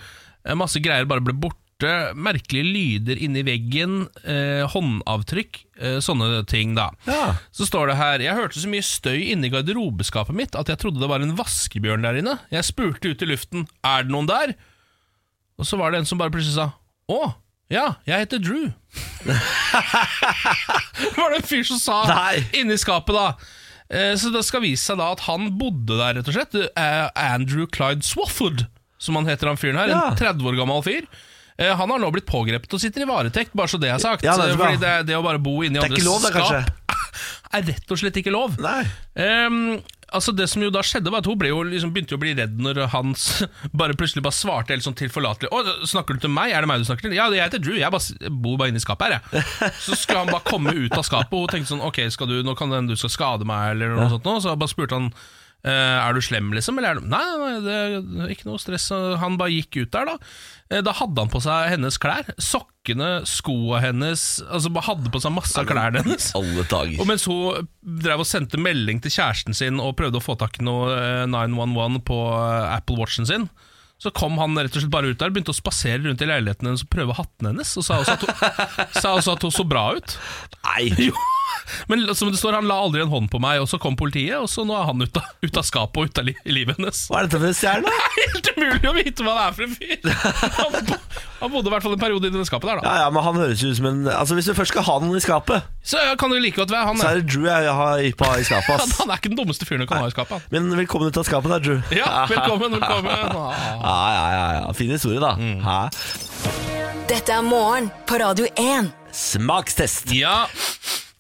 B: Eh, masse greier bare ble borte. Merkelige lyder inni veggen, eh, håndavtrykk, eh, sånne ting, da.
A: Ja.
B: Så står det her Jeg hørte så mye støy inni garderobeskapet mitt at jeg trodde det var en vaskebjørn der inne. Jeg spurte ut i luften Er det noen der? Og så var det en som bare plutselig sa Å, ja, jeg heter
A: *laughs*
B: Drew. var det en fyr som sa
A: Nei.
B: inni skapet, da. Eh, Så det skal vise seg da at han bodde der, rett og slett. Eh, Andrew Clyde Swafford, som han heter han fyren her.
A: Ja.
B: En 30 år gammel fyr. Eh, Han har nå blitt pågrepet og sitter i varetekt, bare så det er sagt.
A: Ja, det er bra.
B: Fordi det, er- det å bare bo inni
A: Det er ikke lov,
B: andres
A: da, kanskje?
B: skap er rett og slett ikke lov.
A: Nei.
B: Ehm, altså Det som jo da skjedde, var at hun ble jo liksom begynte jo å bli redd når han s- *laughs* bare plutselig bare svarte helt sånn tilforlatelig. Å, 'Snakker du til meg? Er det meg du snakker til?' 'Ja, jeg heter Drew. Jeg bare, s- bor bare inni skapet her, jeg.' Så skulle han bare komme ut av skapet, og hun tenkte sånn 'Ok, skal du, nå kan det hende du skal skade meg', eller noe sånt. nå. Så bare spurte han «Eh, er du slem, liksom? Eller er du... Nei, nei, nei, det er ikke noe stress. Han bare gikk ut der, da. Eh, Da hadde han på seg hennes klær. Sokkene, skoa hennes. Altså bare hadde på seg masse av klærne hennes.
A: Alle dager.
B: Og mens hun drev og sendte melding til kjæresten sin og prøvde å få tak i noe eh, 911 på eh, Apple Watchen sin, så kom han rett og slett bare ut der, begynte å spasere
A: *laughs*
B: rundt *laughs* i leiligheten hennes og prøve hatten hennes, og sa også at hun, sa også at hun så bra ut.
A: Nei!
B: Men som det står, han la aldri en hånd på meg, og så kom politiet, og så nå er han ut av, ut av skapet og ut av li livet hennes. *laughs*
A: Hva er dette for en stjerne?
B: Det er helt umulig å vite hva det er for en fyr! Han, bo- han bodde i hvert fall en periode i det skapet der, da.
A: Ja, ja, men han høres jo ut som en Altså, Hvis du først skal ha noen i skapet,
B: Så ja, kan det like godt være han.
A: så
B: ja.
A: er det Drew jeg har i, på, i skapet.
B: Han,
A: ass
B: *laughs* han er ikke den dummeste fyren du kan ha i skapet. han.
A: Men velkommen ut av skapet da, Drew.
B: Ja, velkommen, velkommen. Mm. Ah.
A: Ja, ja, ja, ja. Fin historie, da. Hæ?
C: Dette er morgen på Radio 1.
A: Smakstest.
B: Ja,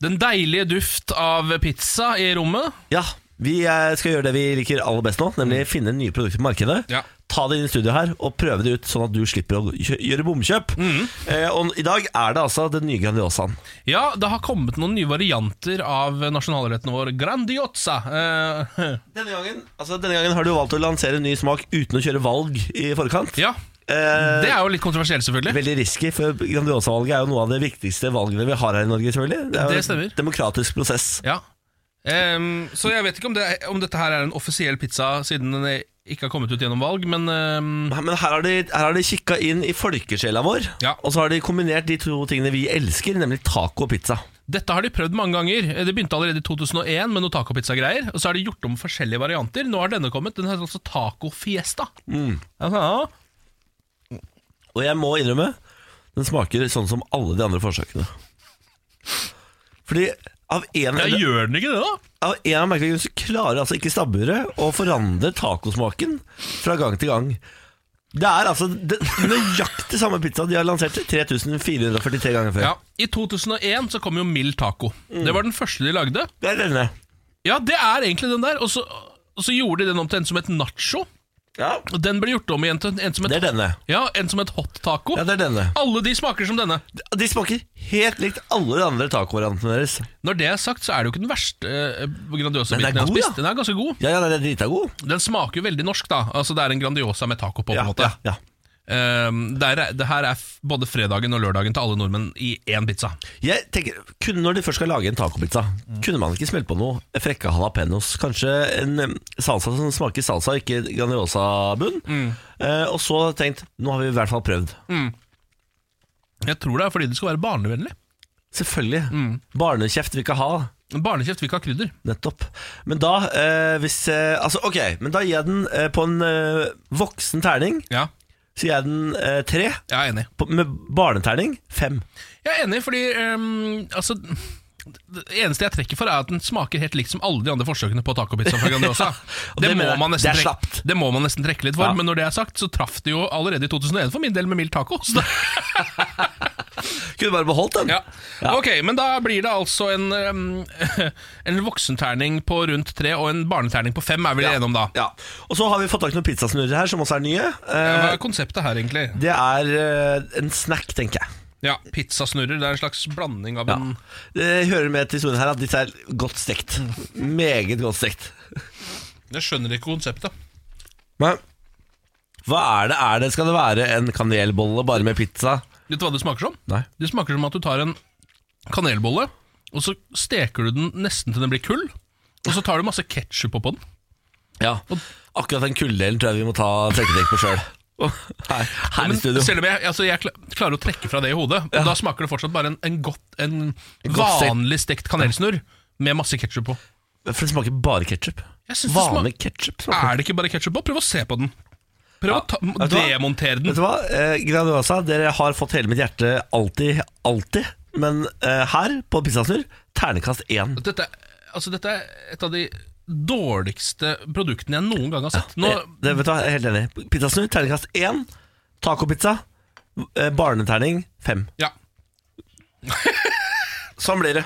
B: den deilige duft av pizza i rommet.
A: Ja, vi eh, skal gjøre det vi liker aller best nå, nemlig finne nye produkter på markedet.
B: Mm. Ja.
A: Ta det inn i studio her og prøve det ut, sånn at du slipper å kjø- gjøre bomkjøp.
B: Mm.
A: Eh, og i dag er det altså den nye Grandiosaen.
B: Ja, det har kommet noen nye varianter av nasjonalretten vår, grandiosa. Eh, *laughs*
A: Denne gangen, altså, denne gangen har du valgt å lansere en ny smak uten å kjøre valg i forkant.
B: ja,
A: Eh,
B: det er jo litt kontroversielt, selvfølgelig.
A: Veldig risky, for Grandiosa-valget er jo noe av det viktigste valgene vi har her i Norge. selvfølgelig Det er jo
B: Det stemmer.
A: en demokratisk prosess.
B: Ja. Ehm, så jeg vet ikke om, det, om dette her er en offisiell pizza, siden den ikke har kommet ut gjennom valg, men ehm,
A: Men her har de, her har de kikka inn i folkesjela vår,
B: Ja.
A: og så har de kombinert de to tingene vi elsker, nemlig taco og pizza.
B: Dette har de prøvd mange ganger. Eh, Det begynte allerede i 2001 med noe tacopizza-greier. Og så har de gjort om forskjellige varianter. Nå har denne kommet. Den heter altså Taco Fiesta. Altså, ja.
A: Og jeg må innrømme, den smaker sånn som alle de andre forsøkene. Fordi av en,
B: Ja, gjør den ikke det, da?
A: av en av merkelige grunner så klarer altså ikke stabburet å forandre tacosmaken fra gang til gang. Det er altså det, nøyaktig samme pizza de har lansert 3443 ganger før.
B: Ja. I 2001 så kom jo mild taco. Det var den første de lagde.
A: Det er denne.
B: Ja, det er egentlig den der. Og så, og så gjorde de den om til en som het nacho.
A: Ja,
B: Og den ble gjort om igjen til en som
A: det
B: het,
A: er denne.
B: ja, en som het hot taco.
A: Ja, det er denne.
B: Alle de smaker som denne.
A: De smaker helt likt alle de andre tacovariantene deres.
B: Når det er sagt, så er det jo ikke den verste eh, Grandiosa-biten
A: Men den er
B: jeg
A: god,
B: har spist.
A: da.
B: Den er ganske god.
A: Ja, ja, den er drita god.
B: Den smaker jo veldig norsk, da. Altså, det er en Grandiosa med taco på, på en måte.
A: ja, ja.
B: Ehm, det, er, det her er f- både fredagen og lørdagen til alle nordmenn i én pizza.
A: Jeg tenker, kun Når de først skal lage en tacopizza, kunne man ikke smelt på noe frekke jalapeños? Kanskje en em, salsa som smaker salsa, ikke Grandiosa-bunn?
B: Mm.
A: Eh, og så tenkt nå har vi i hvert fall prøvd.
B: Jeg tror det er fordi det skal være barnevennlig.
A: Selvfølgelig.
B: Mm.
A: Barnekjeft vil ikke ha.
B: Barnekjeft vil ikke ha krydder.
A: Nettopp. Men da eh, hvis eh, Altså, ok, men da gir jeg den eh, på en eh, voksen terning.
B: Ja,
A: Så gir jeg den eh, tre.
B: jeg er enig.
A: På, med barneterning fem.
B: Jeg er enig fordi ehm, altså, Det eneste jeg trekker for, er at den smaker helt likt som alle de andre forsøkene på tacopizza
A: *laughs*
B: fra Grandiosa.
A: og
B: det,
A: det
B: må
A: mener jeg,
B: man
A: det
B: nesten
A: er
B: trekke-
A: slapt.
B: det må man nesten trekke litt for,
A: Ja.
B: men når det er sagt, så traff det jo allerede i 2001 for min del med mild taco.
A: *laughs*
B: Så da
A: Kunne bare beholdt den.
B: Ja. Ok, men da blir det altså en, um, *laughs* en voksenterning på rundt tre og en barneterning på fem, er vi enige om da?
A: Ja. Og så har vi fått tak i noen pizzasnurrer her, som også er nye. Eh,
B: Hva er konseptet her, egentlig?
A: Det er eh, en snack, tenker jeg.
B: Ja, Pizzasnurrer. Det er en slags blanding av
A: Ja.
B: en
A: Det hører med til historien her at disse er godt stekt. Meget godt stekt.
B: Jeg skjønner ikke konseptet.
A: Men hva er det? er det? Skal det være en kanelbolle bare med pizza?
B: Vet du hva det smaker som?
A: Nei.
B: Det smaker som at du tar en kanelbolle, og så steker du den nesten til den blir kull. Og så tar du masse ketsjup oppå den.
A: Ja. Akkurat den kulddelen tror jeg vi må ta trekketek på sjøl. Her, her
B: Men
A: i studio.
B: selv om jeg, altså jeg kla- klarer å trekke fra det i hodet, og da smaker det fortsatt bare en, en, godt, en
A: godt stekt-
B: vanlig stekt kanelsnurr med masse ketsjup på.
A: For det smaker bare ketsjup.
B: Jeg synes det smak- Ah.
A: Vanlig ketsjup.
B: Er det ikke bare ketsjup på? Prøv å se på den. Prøv å ta,
A: vet du hva?
B: demontere den.
A: Vet du hva? Eh, Grandiosa, dere har fått hele mitt hjerte alltid, alltid. Men eh, her, på pizzasnurr, ternekast én.
B: Dette, altså, dette er et av de dårligste produktene jeg noen gang har sett. Nå,
A: det, Eh, det, vet du, hva, jeg er helt enig. Pizzasnurr, terningkast én. Tacopizza, eh, barneterning fem.
B: ja.
A: Sånn blir det.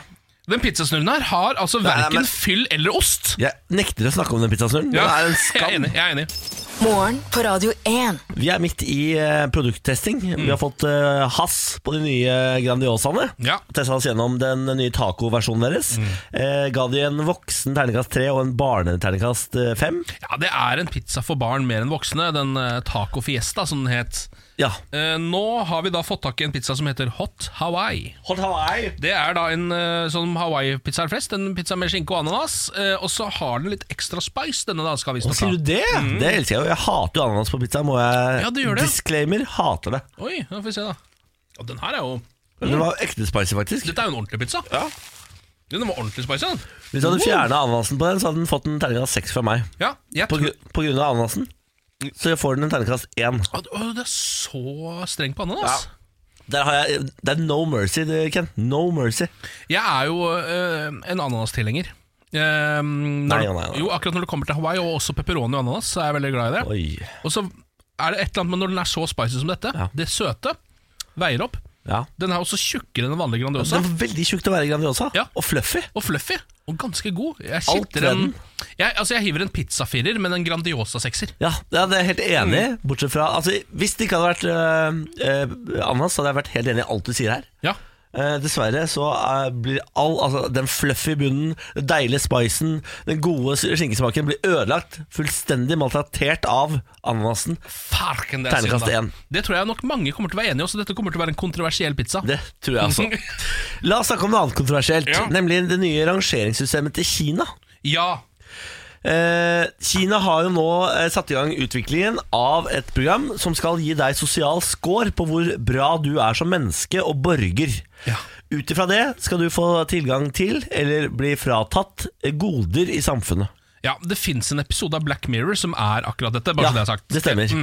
B: Den pizzasnurren her har altså verken
A: men-
B: fyll eller ost.
A: Jeg nekter å snakke om den pizzasnurren. Den er en
B: *laughs* jeg er
A: skam.
B: enig. jeg er enig
C: Morgen på Radio 1.
A: Vi er midt i eh, produkttesting.
B: Mm.
A: Vi har fått eh, hass på de nye Grandiosaene.
B: Ja. Mm.
A: Testa oss gjennom den nye tacoversjonen deres. Eh, ga de en voksen terningkast tre og en barneterningkast eh, fem.
B: ja, Det er en pizza for barn mer enn voksne. Den eh, Taco Fiesta, som den het.
A: Ja.
B: Eh, nå har vi da fått tak i en pizza som heter Hot Hawaii.
A: Hot Hawaii.
B: Det er da en eh, sånn Hawaii-pizza er flest. En pizza med skinke og ananas. eh, og så har den litt ekstra spice, denne da, skal visstnok ha.
A: Sier du det? Det elsker jeg jo. Jeg hater jo ananas på pizza. Må jeg
B: Mm. Ja, du gjør det.
A: Disclaimer hater det.
B: Oi, da får vi se da Og den her er jo Mm.
A: Men Den var ekte spicy, faktisk.
B: Dette er jo en ordentlig pizza
A: Ja.
B: Den var ordentlig spicy, den.
A: Hvis du hadde fjernet ananasen på den, så hadde den fått en terningkast seks fra meg.
B: Ja, jeg
A: På,
B: tror...
A: gru- på grunn av ananasen så får den en terningkast én.
B: Å, å, det er så streng på ananas.
A: Der har jeg, det er no mercy, det, Ken. No mercy.
B: Jeg er jo øh, en ananas-tilhenger. Eh, når-
A: nei, nei.
B: Jo, akkurat når det kommer til Hawaii, og også pepperoni og ananas, så er jeg veldig glad i det.
A: Oi.
B: Og så er det et eller annet med når den er så spicy som dette.
A: Ja.
B: Det søte veier opp.
A: Ja.
B: Den er også tjukkere enn den vanlige Grandiosa.
A: Den var veldig tjukk til å være Grandiosa.
B: Ja.
A: Og fluffy.
B: Og fluffy. Og ganske god. Jeg
A: Alt
B: skifter
A: ved
B: en
A: den.
B: jeg, altså jeg hiver en pizzafirer, men en Grandiosa-sekser.
A: Ja, ja, det er jeg helt enig
B: Mm.
A: i. Bortsett fra altså, Hvis det ikke hadde vært øh, øh, ananas, så hadde jeg vært helt enig i alt du sier her.
B: Ja.
A: Eh, dessverre så eh, blir all altså, den fluffy bunnen, den deilige spicen, den gode skinkesmaken blir ødelagt. Fullstendig maltratert av ananasen.
B: Farken, det er synd,
A: Terningkast
B: da.
A: én.
B: Det tror jeg nok mange kommer til å være enige i, så dette kommer til å være en kontroversiell pizza.
A: Det tror jeg
B: *laughs*
A: altså. La oss snakke om noe annet kontroversielt,
B: Ja.
A: nemlig det nye rangeringssystemet til Kina.
B: Ja.
A: Eh, Kina har jo nå eh, satt i gang utviklingen av et program som skal gi deg sosial score på hvor bra du er som menneske og borger.
B: Ja.
A: Ut ifra det skal du få tilgang til, eller bli fratatt, eh, goder i samfunnet.
B: ja, det fins en episode av Black Mirror som er akkurat dette. Bare så det er sagt. Mm.
A: det stemmer.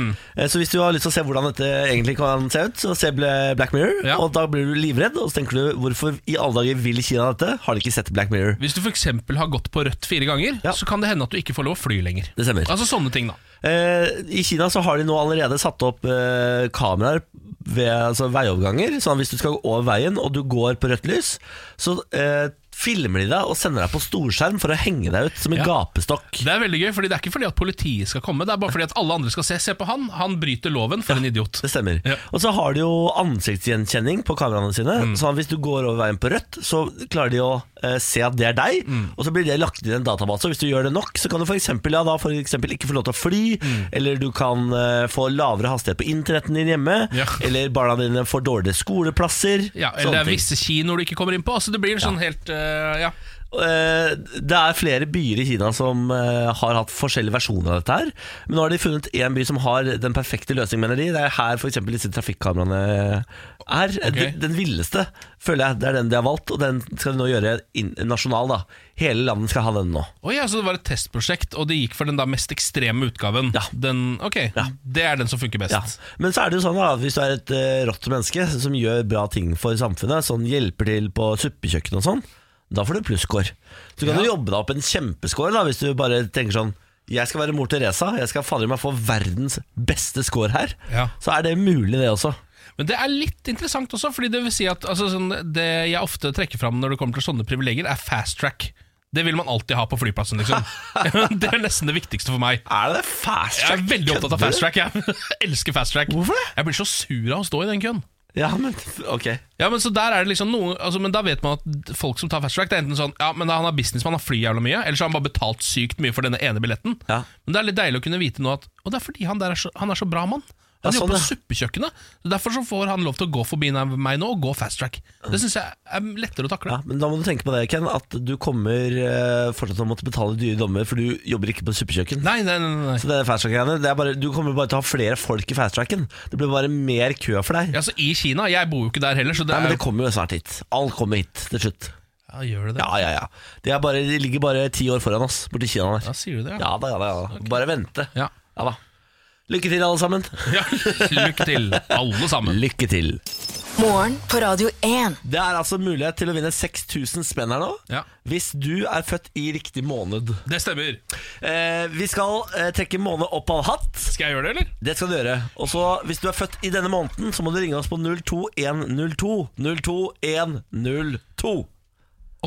A: Eh, Så hvis du har lyst til å se hvordan dette egentlig kan se ut, så se Bla- Black Mirror.
B: Ja.
A: Og da blir du livredd, og så tenker du hvorfor i alle dager vil Kina dette? Har de ikke sett Black Mirror?
B: Hvis du f.eks. har gått på rødt fire ganger,
A: Ja.
B: så kan det hende at du ikke får lov å fly lenger.
A: Det stemmer.
B: Altså sånne ting, da.
A: Eh, I Kina så har de nå allerede satt opp eh, kameraer ved altså, veioverganger. Sånn at hvis du skal gå over veien og du går på rødt lys, så eh, filmer de deg og sender deg på storskjerm for å henge deg ut som en
B: Ja.
A: gapestokk.
B: Det er veldig gøy, fordi det er ikke fordi at politiet skal komme, det er bare fordi at alle andre skal se. Se på han, han bryter loven for en idiot.
A: Det stemmer.
B: Ja. Mm.
A: Og så har de jo ansiktsgjenkjenning på kameraene sine. Sånn at hvis du går over veien på rødt, så klarer de å eh, se at det er deg.
B: Mm.
A: Og så blir det lagt inn i en database. Og hvis du gjør det nok, så kan du f.eks. Ja, da for eksempel ikke få lov til å fly,
B: Mm.
A: eller du kan eh, få lavere hastighet på internetten din hjemme,
B: Ja.
A: eller barna dine får dårligere skoleplasser.
B: Ja,
A: sånne
B: eller det er
A: ting.
B: visse kinoer du ikke kommer inn på. Altså Det blir en sånn helt eh, Ja.
A: Eh, Det er flere byer i Kina som eh, har hatt forskjellige versjoner av dette her. Men nå har de funnet én by som har den perfekte løsningen, mener de. Det er her f.eks. disse trafikkameraene er. Den, den villeste, føler jeg. Det er den de har valgt, og den skal de nå gjøre inn- nasjonal. da Hele landet skal ha den nå.
B: Oi, ja, så det var et testprosjekt, og det gikk for den da mest ekstreme utgaven.
A: Ja.
B: Den, ok, Det er den som funker best.
A: Ja. Men så er det jo sånn da at hvis du er et eh, rått menneske som gjør bra ting for samfunnet, sånn hjelper til på suppekjøkken og sånn, da får du plusskår. Så kan du jobbe deg opp en kjempeskår da, hvis du bare tenker sånn jeg skal være mor Teresa, jeg skal fader meg få verdens beste score her.
B: Ja.
A: Så er det mulig, det også.
B: Men det er litt interessant også, fordi det vil si at altså, sånn, det jeg ofte trekker fram når det kommer til sånne privilegier, er fast track. Det vil man alltid ha på
A: *laughs*
B: flyplassen, liksom. det er nesten det viktigste for meg.
A: Er det fast
B: Jeg
A: track?
B: er veldig opptatt av
A: Kødder
B: fast track. Jeg elsker fast track.
A: Hvorfor det?
B: Jeg blir så sur av å stå i den køen.
A: du? Ja, men ok.
B: Ja, Men så der er det liksom noe altså, Men da vet man at folk som tar fast track, det er enten sånn Ja, men da han har businessmann, han flyr jævla mye, eller så har han bare betalt sykt mye for denne ene billetten.
A: Ja.
B: Men det er litt deilig å kunne vite nå at Og det er fordi han der er så, han er så bra mann.
A: Ja,
B: Han
A: sånn,
B: jobber på
A: ja.
B: suppekjøkkenet. Så Derfor så får han lov til å gå forbi meg nå og gå fast track. Det syns jeg er lettere å takle.
A: Ja, men da må du tenke på det, Ken, at du kommer eh, fortsatt til å måtte betale dyre dommer, for du jobber ikke på suppekjøkken.
B: Nei, nei, nei, nei.
A: Så det er fast track-greiene det er bare, Du kommer bare til å ha flere folk i fast tracken. Det blir bare mer kø for deg.
B: Ja, så I Kina Jeg bor jo ikke der heller, så det
A: Nei,
B: er
A: men
B: jo
A: det kommer jo snart hit. Alt kommer hit til slutt.
B: Ja, gjør det det?
A: Ja, ja, ja. De, er bare, de ligger bare ti år foran oss borti Kina
B: Ja,
A: der.
B: sier du det?
A: Ja da, ja da. ja da. Bare vente.
B: Ja.
A: Ja da. Lykke til, alle sammen.
B: ja. Lykke til, alle sammen.
A: Lykke til.
C: Morgen på Radio 1.
A: Det er altså mulighet til å vinne 6000 spenn her nå.
B: Ja.
A: Hvis du er født i riktig måned.
B: Det stemmer.
A: Eh, vi skal eh, trekke måned opp av hatt.
B: Skal jeg gjøre det, eller?
A: Det skal du gjøre. Og så Hvis du er født i denne måneden, så må du ringe oss på 02102. 02102.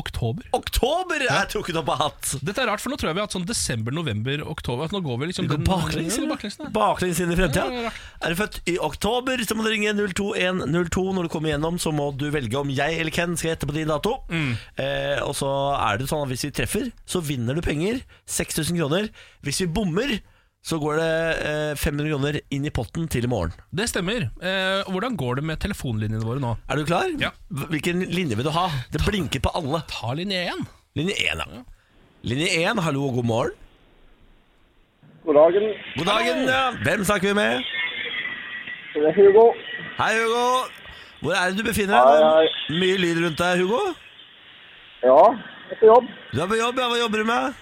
B: Oktober.
A: Oktober er trukket opp av hatt!
B: Dette er rart, for nå tror jeg vi har hatt sånn desember, november, oktober. At nå går vi liksom
A: Vi går
B: den-
A: baklengs,
B: Ja,
A: eller?
B: baklengs, da.
A: Baklengs inn i fremtida.
B: Ja, det er rart.
A: Er du født i oktober, så må du ringe 02102. Når du kommer gjennom, så må du velge om jeg eller Ken skal gjette på din dato.
B: Mm.
A: Eh, og så er det sånn at hvis vi treffer, så vinner du penger. 6000 kroner. Hvis vi bommer, så går det eh, 500 kroner inn i potten til i morgen.
B: Det stemmer. Eh, hvordan går det med telefonlinjene våre nå?
A: Er du klar?
B: Ja.
A: Hvilken linje vil du ha? Det blinker på alle.
B: Ta linje én.
A: Linje 1, ja. Linje 1, hallo og god morgen.
D: God dagen.
A: God dagen, ja. Hvem snakker vi med?
D: Det er Hugo.
A: Hei, Hugo. Hvor er det du befinner
D: Hei,
A: deg?
D: hei.
A: nå? Mye lyd rundt deg, Hugo.
D: Ja, på jobb.
A: Du er på jobb, ja. Hva jobber du med?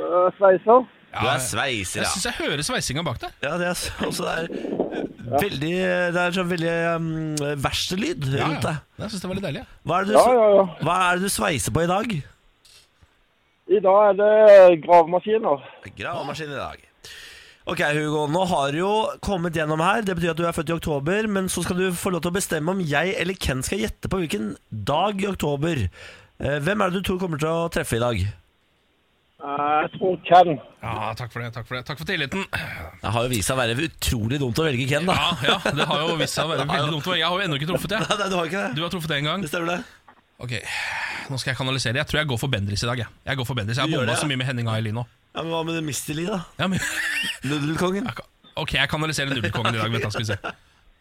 D: Uh, Sveiser.
A: Du er sveiser,
B: Jeg
A: ja.
B: syns jeg hører sveisinga bak der.
A: Ja, det er så- også det er veldig Det er sånn veldig um, verkstedlyd rundt deg.
B: Jeg synes det var litt deilig. ja.
A: Hva er, det du,
D: Ja, ja, ja.
A: hva er det du sveiser på i dag?
D: I dag er det gravemaskiner.
A: Gravemaskin i dag. Ok, Hugo. Nå har du jo kommet gjennom her. Det betyr at du er født i oktober. Men så skal du få lov til å bestemme om jeg eller Ken skal gjette på hvilken dag i oktober. Eh, Hvem er det du tror kommer til å treffe i dag?
D: Eh, Jeg tror Ken.
B: Ja, takk for det. Takk for det. Takk for tilliten.
A: Det har jo vist seg å være utrolig dumt å velge Ken, da.
B: Ja, ja, det har jo vist seg å være veldig dumt. Jeg har jo ennå ikke truffet, jeg.
A: Nei, nei, du har ikke det.
B: Du har truffet det en gang.
A: Det stemmer, det.
B: Ok, nå skal jeg kanalisere. Jeg tror jeg går for Bendris i dag. Jeg, jeg går for Bendris.
A: Du
B: Jeg har
A: gjør
B: bomba
A: det, ja.
B: så mye med Henning Aili nå.
A: Ja, men Hva med Mr. Lee, da?
B: Ja, men,
A: Nudelkongen?
B: ok, jeg kanaliserer Nudelkongen i dag. Vent, da skal vi se.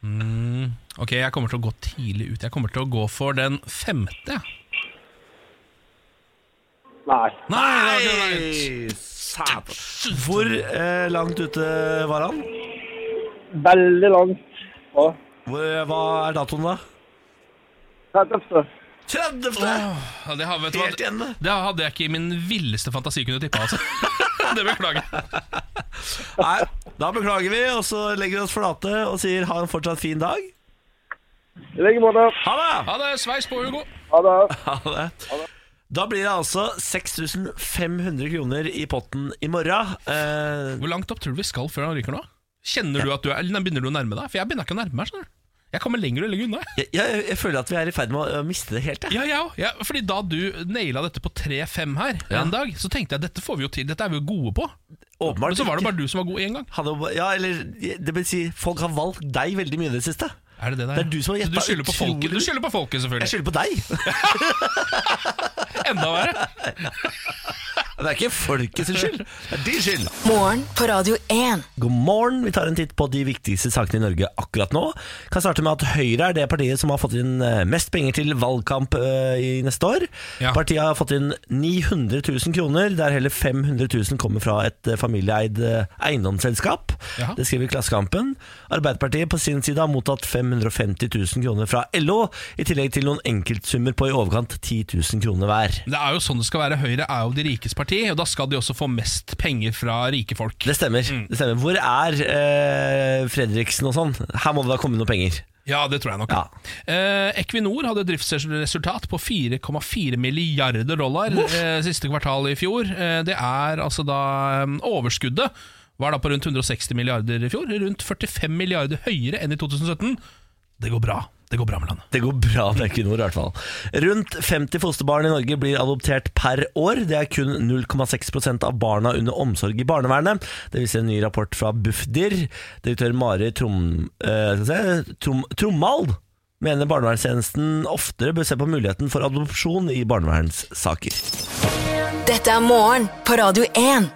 B: Mm, ok, jeg kommer til å gå tidlig ut. Jeg kommer til å gå for den femte. jeg.
D: Nei.
B: Nei! det var ikke det.
A: Satan. Hvor eh, langt ute var han?
D: Veldig langt fra.
A: Hvor, eh, hva er datoen, da?
D: 30.
A: 30.
B: Ja, det, har, vet du
A: Helt igjen,
B: hva,
A: det.
B: det hadde jeg ikke i min villeste fantasi kunne tippa, altså. *laughs* Det beklager jeg.
A: Nei, da beklager vi, og så legger vi oss flate og sier ha en fortsatt fin dag.
D: I like måte.
A: Ha det!
B: Ha det. Sveis på, Hugo.
D: Ha det.
A: Ha det. Da blir det altså 6500 kroner i potten i morgen. Eh,
B: Hvor langt opp tror du vi skal før han ryker nå? Kjenner du at du er, eller begynner du å nærme deg? For jeg begynner ikke å nærme meg. skjønner du. Jeg kommer lenger og lenger unna.
A: jeg, jeg, jeg føler at vi er i ferd med å- å miste det helt. jeg.
B: Ja, ja, ja, fordi da du naila dette på 3-5 her
A: Ja.
B: en dag, så tenkte jeg dette får vi jo til, dette er vi jo gode på.
A: Åpenbart.
B: Men så var det bare du som var god én gang.
A: Han er jo- ja, eller det vil si, folk har valgt deg veldig mye i det siste.
B: Er det det der?
A: Det er du som har
B: Så
A: gjettet
B: Du skylder på
A: utrolig-
B: folket, du skylder på folket
A: Jeg
B: selvfølgelig.
A: skylder på deg.
B: Enda verre.
A: Det er ikke folket sin skyld. *laughs* Det er din skyld.
C: Morgen på Radio 1.
A: God morgen. Vi tar en titt på de viktigste sakene i Norge akkurat nå. Kan starte med at Høyre er det partiet som har fått inn eh, mest penger til valgkamp eh, i neste år.
B: Ja.
A: Partiet har fått inn 900 000 kroner, der hele 500 000 kommer fra et eh, familieeid eh, eiendomsselskap.
B: Jaha.
A: Det skriver Klassekampen. Arbeiderpartiet på sin side har mottatt 550 000 kroner fra LO, i tillegg til noen enkeltsummer på i overkant 10 000 kroner hver.
B: Det er jo sånn det skal være. Høyre er jo de rikes parti, og da skal de også få mest penger fra rike folk.
A: Det stemmer. det stemmer. Hvor er eh, Fredriksen og sånn? Her må det da komme noen penger.
B: Ja, det tror jeg nok.
A: Ja.
B: Eh, Equinor hadde driftsresultat på 4,4 milliarder dollar eh, siste kvartal i fjor. Eh, det er altså da eh, Overskuddet var da på rundt 160 milliarder i fjor. Rundt 45 milliarder høyere enn i 2017. Det går bra. Det går bra med landet.
A: Det går bra med Equinor, i hvert fall. Rundt 50 fosterbarn i Norge blir adoptert per år. Det er kun 0,6 av barna under omsorg i barnevernet. Det viser en ny rapport fra Bufdir. Direktør Mari Trom, eh, skal vi se, Trom, Trommald mener barnevernstjenesten oftere bør se på muligheten for adopsjon i barnevernssaker.
C: Dette er morgen på Radio 1.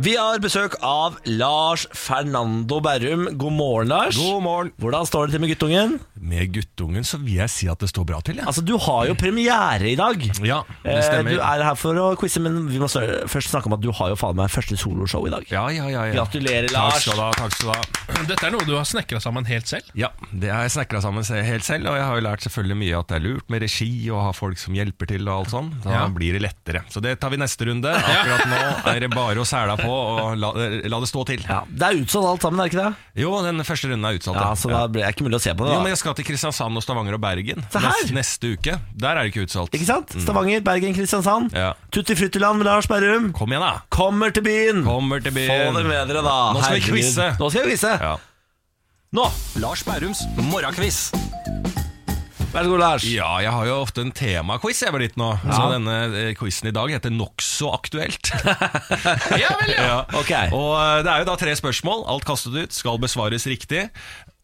A: Vi har besøk av Lars Fernando Berrum. God morgen, Lars.
E: God morgen.
A: Hvordan står det til med guttungen?
E: Med guttungen så vil jeg si at det står bra til, jeg.
A: Altså, Du har jo premiere i dag.
E: Ja, det
A: Eh,
E: stemmer.
A: Du er her for å quize, men vi må stør- først snakke om at du har jo faen meg første soloshow i dag.
E: Ja, ja, ja, ja.
A: Gratulerer,
E: Takk
A: Lars.
E: skal du ha. takk skal du ha
B: Dette er noe du har snekra sammen helt selv.
E: Ja, Det har jeg snekra sammen se- helt selv, og jeg har jo lært selvfølgelig mye at det er lurt med regi og ha folk som hjelper til og alt sånn. Da
B: Ja.
E: blir det lettere. Så det tar vi neste runde. Akkurat nå er det bare å sæla på og la, la det stå til.
A: Ja, Det er utsolgt alt sammen, er det ikke det?
E: Jo, den første runden er utsatt.
A: Ja, Så da blir det ikke mulig å se på det.
E: Jo, men
A: da
E: jeg skal til Kristiansand og Stavanger og Bergen
A: Se her!
E: nes- neste uke. Der er det ikke utsolgt.
A: Ikke sant? Stavanger, Bergen, Kristiansand.
E: Mm. Ja.
A: Tutti Fruttiland med Lars Berrum.
E: Kom igjen, da!
A: Kommer til byen!
E: Kommer til byen.
A: Få det med dere, da.
E: Nå skal vi
A: Herregud.
E: quize.
A: Nå skal vi quize.
E: Ja.
A: Nå!
E: Lars Bærums morgenkviss.
A: Vær så god, Lars.
E: Ja, jeg har jo ofte en temaquiz jeg var litt nå. Så denne eh, quizen i dag heter Nokså aktuelt.
B: Ja vel, ja.
A: Ok.
E: Og eh, det er jo da tre spørsmål. Alt kastet ut, skal besvares riktig.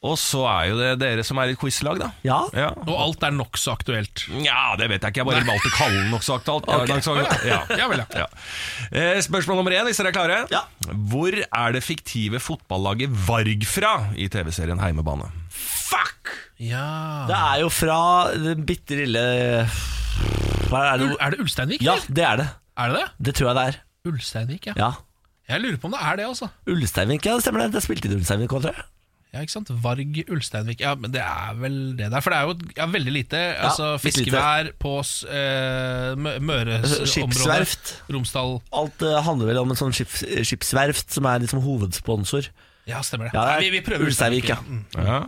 E: Og så er jo det dere som er i et quizlag, da.
A: Ja.
E: Ja.
B: Og alt er nokså aktuelt.
E: Nja, det vet jeg ikke. Jeg bare valgte å kalle den nokså aktuelt. Ja.
B: Ja vel, ja.
E: Ja. Eh, Spørsmål nummer én, hvis dere er klare.
A: Ja.
E: Hvor er det fiktive fotballaget Varg fra i TV-serien Heimebane?
A: Fuck!
B: ja.
A: Det er jo fra den bitte lille Hva er det?
B: Er det Ulsteinvik?
A: Ja,
B: eller?
A: det er det.
B: Er det det?
A: Det tror jeg det er.
B: Ulsteinvik, ja.
A: Ja.
B: Jeg lurer på om det er det, altså.
A: Ulsteinvik, ja, det stemmer det. Det spilte i Ulsteinvik òg, tror jeg.
B: Ja, ikke sant? Varg Ulsteinvik. Ja, men det er vel det der. For det er jo ja, veldig lite. altså
A: litt lite.
B: Fiskevær på s- eh, Mø- Møres
A: Skipsverft.
B: område. Romsdal.
A: Alt eh, handler vel om en sånn skips, skipsverft som er liksom hovedsponsor.
B: Ja, stemmer det.
A: Ja, det er
B: Nei, vi, vi prøver
A: Ulsteinvik, ja.
B: Mm.
E: Ja,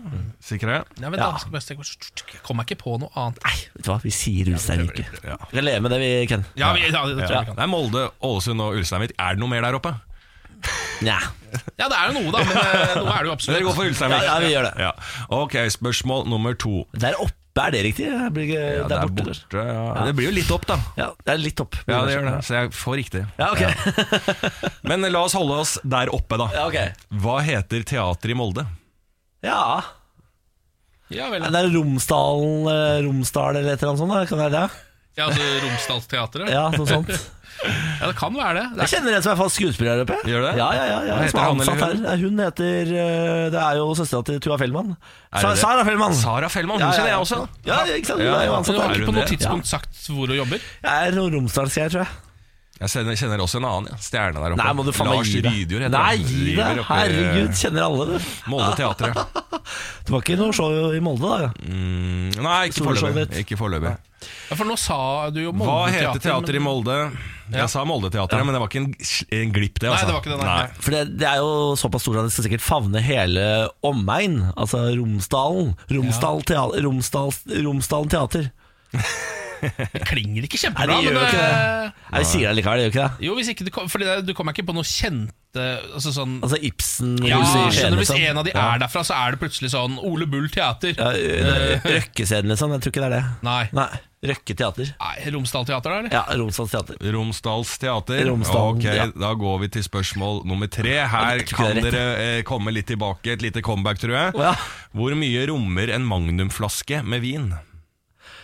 E: sikre.
B: Nei, vent,
A: Ja.
B: da, skal bare tenke- Jeg kommer ikke på noe annet.
A: Nei, vet du hva, vi sier Ulsteinvik.
E: prøver, vi prøver, ja.
A: Vi kan leve med det vi kan.
B: Ja, vi, ja, det tror
E: Ja.
B: jeg vi kan.
E: Det er Molde, Ålesund og Ulsteinvik. Er det noe mer der oppe?
A: Nja.
B: ja, det er jo noe, da. Men eh, noe er det jo
E: Dere går
B: absolutt.
E: for Ulsteinvik?
A: Ja, ja, vi gjør det.
E: Ja. Ok, spørsmål nummer to.
A: Der oppe, er det riktig? Det blir ikke,
E: Ja,
A: der
E: det er
A: borte, eller?
E: borte. Ja. Det blir jo litt opp, da.
A: Ja, det er litt opp.
E: Ja, det gjør det. Så jeg får riktig.
A: Ja, ok. Ja.
E: Men la oss holde oss der oppe, da.
A: ok.
E: Hva heter teateret i Molde?
A: Ja.
B: Ja, vel.
A: Det er Romsdalen eh, Romsdal eller et eller annet sånt? Da. Kan det være det?
B: Ja, altså Romsdalsteatret.
A: Ja, noe
E: *laughs*
A: sånt.
B: Ja, det kan være det.
A: Jeg
B: det er,
A: kjenner en som er fast skuespiller her oppe.
E: Gjør du det?
A: Ja, ja, ja, ja.
E: Hva
A: som er
E: heter han eller
A: ansatt her.
E: hun?
A: Nei, Hun heter eh, Det er jo søstera til Tua Fellmann.
E: Er
A: Sa
E: det det?
A: Sara Fellmann.
E: Sara Fellmann, hun
A: Ja, ja,
E: kjenner
A: ja.
E: jeg også.
A: Ja, ja, ikke sant? Hun
E: Ja,
A: er jo
E: ja.
B: men
A: ansatt
B: du har
A: her.
E: Er
B: ikke
E: hun
B: på noe
E: det?
B: tidspunkt sagt hvor hun jobber?
A: Jeg er noe romsdalsgreier, tror jeg.
E: Jeg kjenner, kjenner også en annen ja. stjerne der oppe.
A: Nei, må du faen meg
E: Lars
A: gi deg.
E: Rydjord heter
A: Nei,
E: han.
A: gi
E: Driver
A: deg.
E: oppe i, eh,
A: Herregud, kjenner alle det.
E: Molde
A: *laughs*
E: teatret.
A: Det var ikke noe show i Molde, da. ja.
E: Mm, nei, ikke
A: Solskjønnhet.
E: foreløpig. Ikke foreløpig.
B: Ja, for nå sa du jo Molde
E: Hva heter teater i
B: men-
E: Molde?
B: Ja.
E: Jeg sa Moldeteatret, men det var ikke en, en glipp, det.
B: Nei,
E: Altså.
B: det var ikke det, nei.
A: For det, det er jo såpass stort at det skal sikkert favne hele omegn. Altså Romsdalen. Romsdal teater, Romsdal, Romsdalen teater.
B: Det klinger ikke
A: Nei,
B: kjempebra.
A: det gjør jo
B: men,
A: ikke det.
B: eh,
A: Nei, vi sier det likevel, det gjør ikke det?
B: Jo, hvis ikke du kom, fordi det, du kommer ikke på noe kjente altså sånn,
A: Altså Ibsen
B: ja,
A: huset i Skien,
B: skjønner du, Hvis
A: liksom.
B: en av de er derfra, så er det plutselig sånn Ole Bull Teater. Eh,
A: Ja,
B: *laughs*
A: det er Røkkescenen, liksom. Jeg tror ikke det er det.
B: Nei.
A: Nei. Røkke teater.
B: Nei, Romsdal Teater, da, eller?
A: Ja, Romsdals teater.
E: Romsdals teater.
A: Romsdalen,
E: ok,
A: ja.
E: Da går vi til spørsmål nummer tre.
A: Ja,
E: Her
A: det tror jeg er
E: kan
A: rett.
E: dere eh, komme litt tilbake. Et lite comeback, tror jeg.
A: Å, ja.
E: Hvor mye rommer en magnumflaske med vin?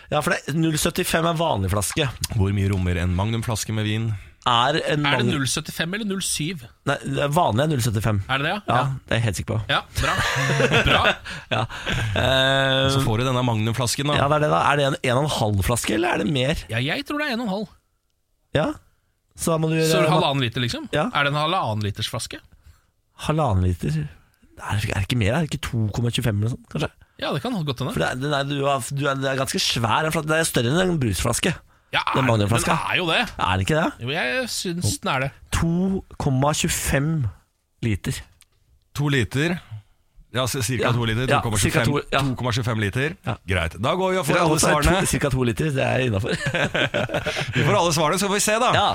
A: Ja, for det er 075 er vanlig flaske.
E: Hvor mye rommer en magnumflaske med vin?
A: Er, en
B: Er det
A: vanlig-
B: 075 eller 07?
A: Nei, det er vanlig er 075.
B: Er det det,
A: Ja, det er jeg helt sikker på.
B: Ja, bra. bra. *laughs*
A: Ja. Eh,
E: Så får du denne magnumflasken,
A: ja,
E: da.
A: det er det, da. Er det en, en og en halv flaske, eller er det mer?
B: Ja, jeg tror det er 1,5.
A: Ja. Så da må du eh, gjøre
B: Så halvannen liter, liksom?
A: Ja.
B: Er det en halvannen liters flaske?
A: halvannen liter. Er det, er det ikke mer? Er det ikke 2,25 eller noe sånt, kanskje?
B: Ja, det kan godt hende.
A: For det er, den er, du har, du er, det er ganske svær. den flaske. Det er større enn en brusflaske.
B: Ja,
A: det er
B: er- den
A: magnumflaska.
B: er jo det.
A: Er det ikke det?
B: Jo, jeg syns den er det.
A: 2,25 liter.
E: To liter. Ja, ca.
A: Ja,
E: to liter.
A: ja, cirka
E: 2,25
A: to- ja.
E: 2,25 liter.
A: Ja.
E: Greit. Da går vi og får alle svarene.
A: Ca. 2 liter, det er innafor.
E: Vi får alle svarene, så får vi se, da.
A: Ja.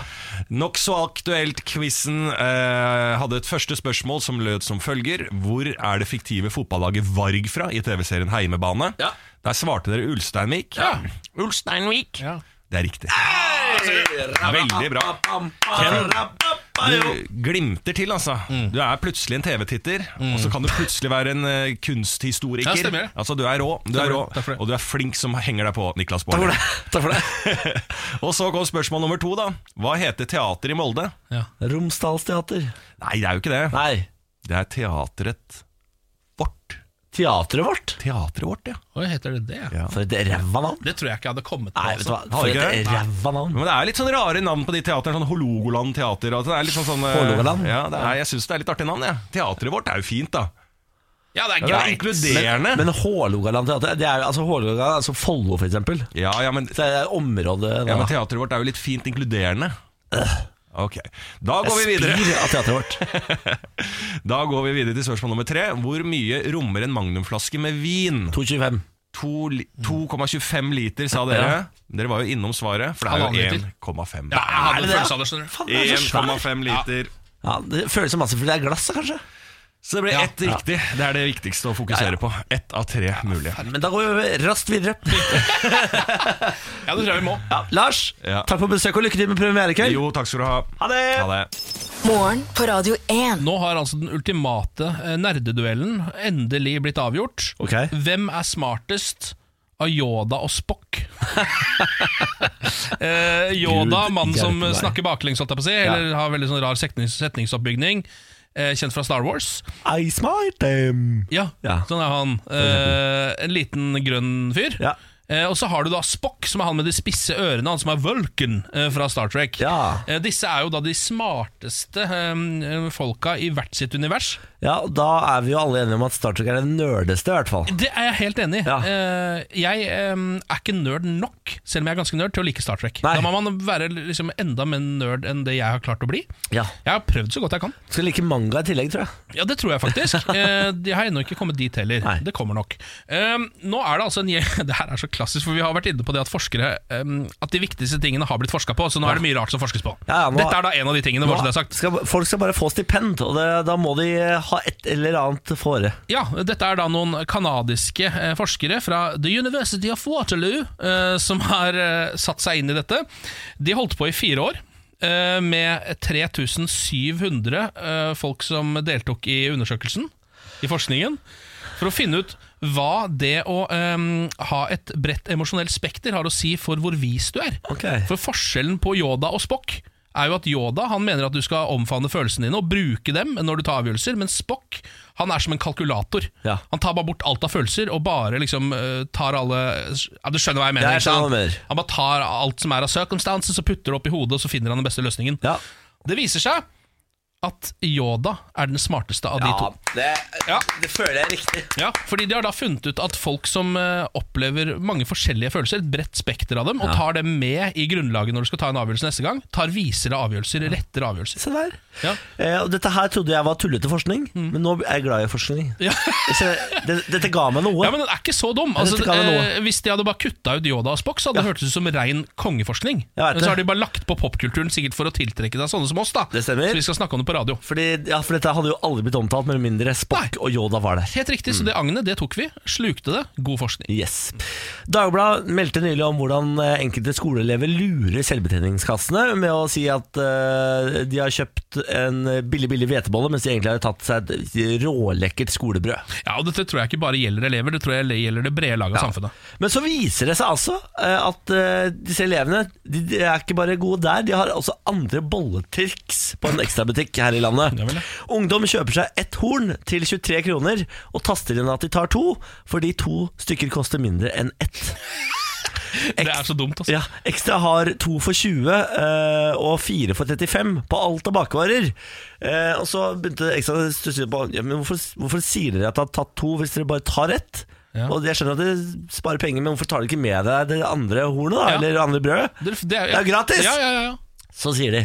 E: Nokså aktuelt-quizen eh, hadde et første spørsmål som lød som følger. Hvor er det fiktive fotballaget Varg fra i TV-serien Heimebane?
B: Ja.
E: Der svarte dere Ulsteinvik.
B: Ja.
E: Ulsteinvik.
B: Ja.
E: Det er riktig. Altså, Veldig bra. Du glimter til, altså.
B: Mm.
E: Du er plutselig en TV-titter, og så kan du plutselig være en eh, kunsthistoriker.
B: Ja, stemmer det.
E: altså, du er rå, du er
B: for
E: rå
B: det, takk for det.
E: og du er flink som henger deg på, Niklas Baarli.
A: Takk for det.
E: *laughs* og så kom spørsmål nummer to, da. Hva heter teater i Molde?
A: Romsdalsteater.
E: Nei, det er jo ikke det.
A: Nei,
E: Det er teatret vårt.
A: teatret vårt.
E: Teatret vårt, ja.
B: Hva heter det det?
E: Ja.
A: For et ræva navn.
B: Det tror jeg ikke jeg hadde kommet på.
A: Nei, vet du hva.
B: altså.
A: For
E: ikke det?
A: et ræva navn.
E: Men det er litt sånn rare navn på de teatrene. Sånn Hålogaland teater. Og det er litt sånn, sånn, eh,
A: Hålogaland?
E: Ja, det er, jeg syns det er litt artig navn. Ja. Teatret vårt er jo fint, da.
B: Ja, det er
E: Det er
B: greit.
E: inkluderende.
A: Men Hålogaland teater, det er jo altså Hålogaland, altså Follo for eksempel.
E: ja, ja, men,
A: Så er det området
E: ja, men
A: da.
E: teatret vårt er jo litt fint inkluderende. Ok, Da går vi videre
A: Spir av teatret vårt.
E: Da går vi videre til spørsmål nummer tre. Hvor mye rommer en magnumflaske med vin?
A: 225.
E: To li- 2,25 liter, sa dere. Dere var jo innom svaret, for det er
B: Halvannen
E: jo
B: liter.
E: 1,5.
B: Ja, jeg
A: det
B: hadde en
A: det?
B: følelse av det, skjønner du.
A: Faen, det er så svært.
E: 1,5 liter.
A: Ja, det føles som masse, for det er glass da, kanskje.
E: Så det ble
B: Ja.
E: ett riktig. Det er det viktigste å fokusere på. Ett av tre mulige.
A: Men da går vi raskt videre.
B: Ja, det tror jeg vi må.
A: Ja, Lars,
E: Ja.
A: takk for besøk og lykke til med premiere i kveld.
E: Jo, takk skal du ha.
A: Ha det!
E: Ha det.
C: Morgen på Radio 1.
B: Nå har altså den ultimate eh, nerdeduellen endelig blitt avgjort.
A: Ok.
B: Hvem er smartest av Yoda og
A: *laughs*
B: Spock? eh, Yoda,
A: Gud
B: mannen som
A: hjelpe meg.
B: snakker baklengs, holdt jeg på å si, eller har veldig sånn rar setnings setningsoppbygning. Eh, kjent fra Star Wars.
A: I smite them.
B: Ja,
A: Ja.
B: sånn er han. Eh, en liten grønn fyr.
A: Ja.
B: Eh, Eh, og så har du da Spock, som er han med de spisse ørene, han som er Vulcan eh, fra Star Trek.
A: Ja.
B: Eh, disse er jo da de smarteste eh, folka i hvert sitt univers.
A: Ja, og Da er vi jo alle enige om at Star Trek er det nerdeste, i hvert fall.
B: Det er jeg helt enig i.
A: Ja.
B: Eh, jeg eh, er ikke nerd nok, selv om jeg er ganske nerd, til å like Star Trek.
A: Nei.
B: Da må man være liksom enda mer nerd enn det jeg har klart å bli.
A: Ja.
B: Jeg har prøvd så godt jeg kan.
A: Skal like manga i tillegg, tror jeg.
B: Ja, det tror jeg
A: *laughs*
B: faktisk. Eh, de har ennå ikke kommet dit heller.
A: Nei.
B: Det kommer nok. Eh, nå er det altså en gjeng *laughs* Det her er så klassisk, for vi har vært inne på det at forskere eh, At de viktigste tingene har blitt forska på, så nå er det mye rart som forskes på.
A: Ja, ja, nå-
B: Dette er da en av de tingene, bare så det er sagt.
A: Skal, folk skal bare få stipend, og det, da må de ha et eller annet fore.
B: Ja, dette er da noen kanadiske eh, forskere fra The University of Waterloo eh, som har eh, satt seg inn i dette. De holdt på i fire år. eh, Med 3700 eh, folk som deltok i undersøkelsen, i forskningen, for å finne ut hva det å eh, ha et bredt emosjonelt spekter har å si for hvor vis du er.
A: Ok.
B: For forskjellen på Yoda og Spock er jo at Yoda han mener at du skal omfavne følelsene dine og bruke dem når du tar avgjørelser, men Spock han er som en kalkulator.
A: Ja.
B: Han tar bare bort alt av følelser og bare liksom eh, tar alle ja, Du skjønner hva jeg mener?
A: Jeg
B: ikke sant?
A: skjønner hva du mener.
B: Han bare tar alt som er av circumstances og putter det opp i hodet, og så finner han den beste løsningen.
A: Ja.
B: Det viser seg at Yoda er den smarteste av de to.
A: det,
B: Ja.
A: føler jeg er riktig.
B: Ja, fordi De har da funnet ut at folk som eh, opplever mange forskjellige følelser, et bredt spekter av dem, og tar dem med i grunnlaget når du skal ta en avgjørelse neste gang, tar visere avgjørelser, rettere avgjørelser.
A: Se der.
B: Ja. Mm.
A: Eh, og dette her trodde jeg var tullete forskning, men nå er jeg glad i forskning. Så det, dette ga meg noe.
B: *laughs* Ja, men Den er ikke så dum.
A: Ja,
B: Altså,
A: dette kan jeg nå.
B: eh, hvis de hadde bare kutta ut Yoda og Spock, så hadde det hørtes ut som rein kongeforskning.
A: Jeg vet
B: Men
A: det.
B: så har de bare lagt på popkulturen, sikkert for å tiltrekke seg sånne som oss. da
A: Det stemmer.
B: Så vi skal snakke om det på radio.
A: Fordi, ja, for dette hadde jo aldri blitt omtalt med mindre Spock og Yoda var der.
B: Helt riktig, så det agnet det tok vi. Slukte det. God forskning.
A: Yes. Dagbladet meldte nylig om hvordan eh, enkelte skoleelever lurer selvbetjeningskassene med å si at eh, de har kjøpt en billig billig hvetebolle, mens de egentlig har tatt seg et rålekkert skolebrød.
B: Ja, og Dette tror jeg ikke bare gjelder elever, det tror jeg gjelder det brede laget av samfunnet.
A: Men så viser det seg altså eh, at eh, disse elevene de, de er ikke bare gode der, de har også andre bolletriks på en ekstrabutikk her i landet.
B: Ja vel, ja.
A: Ungdom kjøper seg ett horn til 23 kroner og taster inn at de tar to, fordi to stykker koster mindre enn ett.
B: Det er så dumt, altså.
A: Ja, Ekstra har to for 20 eh, og fire for 35 på alt av bakvarer. Eh, og så begynte Ekstra å stusse litt på ja, men hvorfor, hvorfor sier dere at dere har tatt to hvis dere bare tar ett?
B: Ja.
A: Og Jeg skjønner at dere sparer penger, men hvorfor tar dere ikke med deg det andre hornet? da,
B: Ja.
A: Eller det andre brødet?
B: Det, det
A: Det er gratis!
B: Ja, ja, ja, ja.
A: Så sier de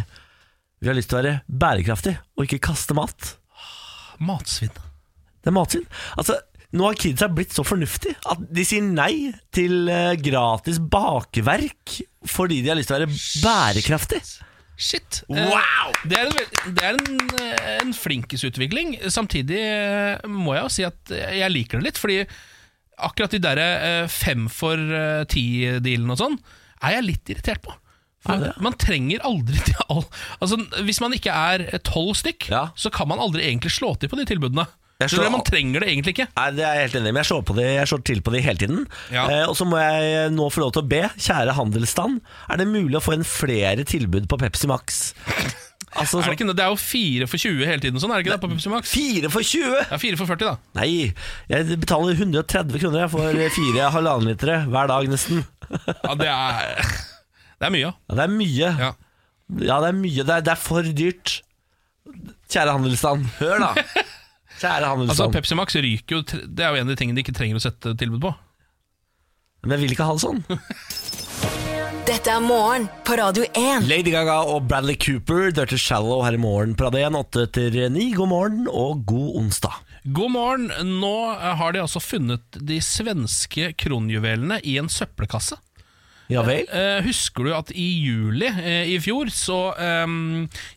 A: vi har lyst til å være bærekraftig og ikke kaste mat.
B: Matsvinn.
A: Det er matsvinn. Altså, nå har kidsa blitt så fornuftig at de sier nei til eh, gratis bakeverk fordi de har lyst til å være bærekraftig.
B: Shit. Eh,
A: Wow!
B: Det er en, vel- det er en, eh, en flinkisutvikling. Samtidig eh, må jeg jo si at eh, jeg liker det litt, fordi akkurat de derre eh, fem for eh, ti-dealene og sånn, er jeg litt irritert på. For man trenger aldri til all Altså, Hvis man ikke er eh, tolv stykk,
A: Ja.
B: så kan man aldri egentlig slå til på de tilbudene.
A: Jeg
B: Så det,
A: slår-
B: man trenger det egentlig ikke.
A: Nei, det er jeg helt enig i, men jeg slår, på de, jeg slår til på de hele tiden.
B: Ja.
A: Eh, og så må jeg nå få lov til å be, kjære handelsstand, er det mulig å få inn flere tilbud på Pepsi Max? Altså,
B: Er det, ikke, det er jo fire for 20 hele tiden, sånn, er det ikke det? på Pepsi Max?
A: Fire for 20!
B: Ja, fire for 40, da.
A: Nei, jeg betaler 130 kroner jeg, for fire halvannen litere hver dag nesten.
B: Ja, det er, det er mye, ja.
A: Ja, det er mye.
B: ja.
A: Ja, det er mye. Det er, det er for dyrt. Kjære handelsstand, hør *laughs* da. Kjære
B: Altså,
A: handelsstand.
B: Pepsi Max ryker jo tre- Det er jo en av de tingene de ikke trenger å sette tilbud på.
A: Men jeg vil ikke ha det sånn.
C: Dette er morgen på Radio 1.
A: Lady Gaga og Bradley Cooper, Dirty Shallow her i morgen. Parade 1, 8 etter 9. God morgen og god onsdag.
B: God morgen. Nå eh, har de altså funnet de svenske kronjuvelene i en søppelkasse.
A: Ja vel?
B: Eh, husker du at i juli eh, i fjor så eh,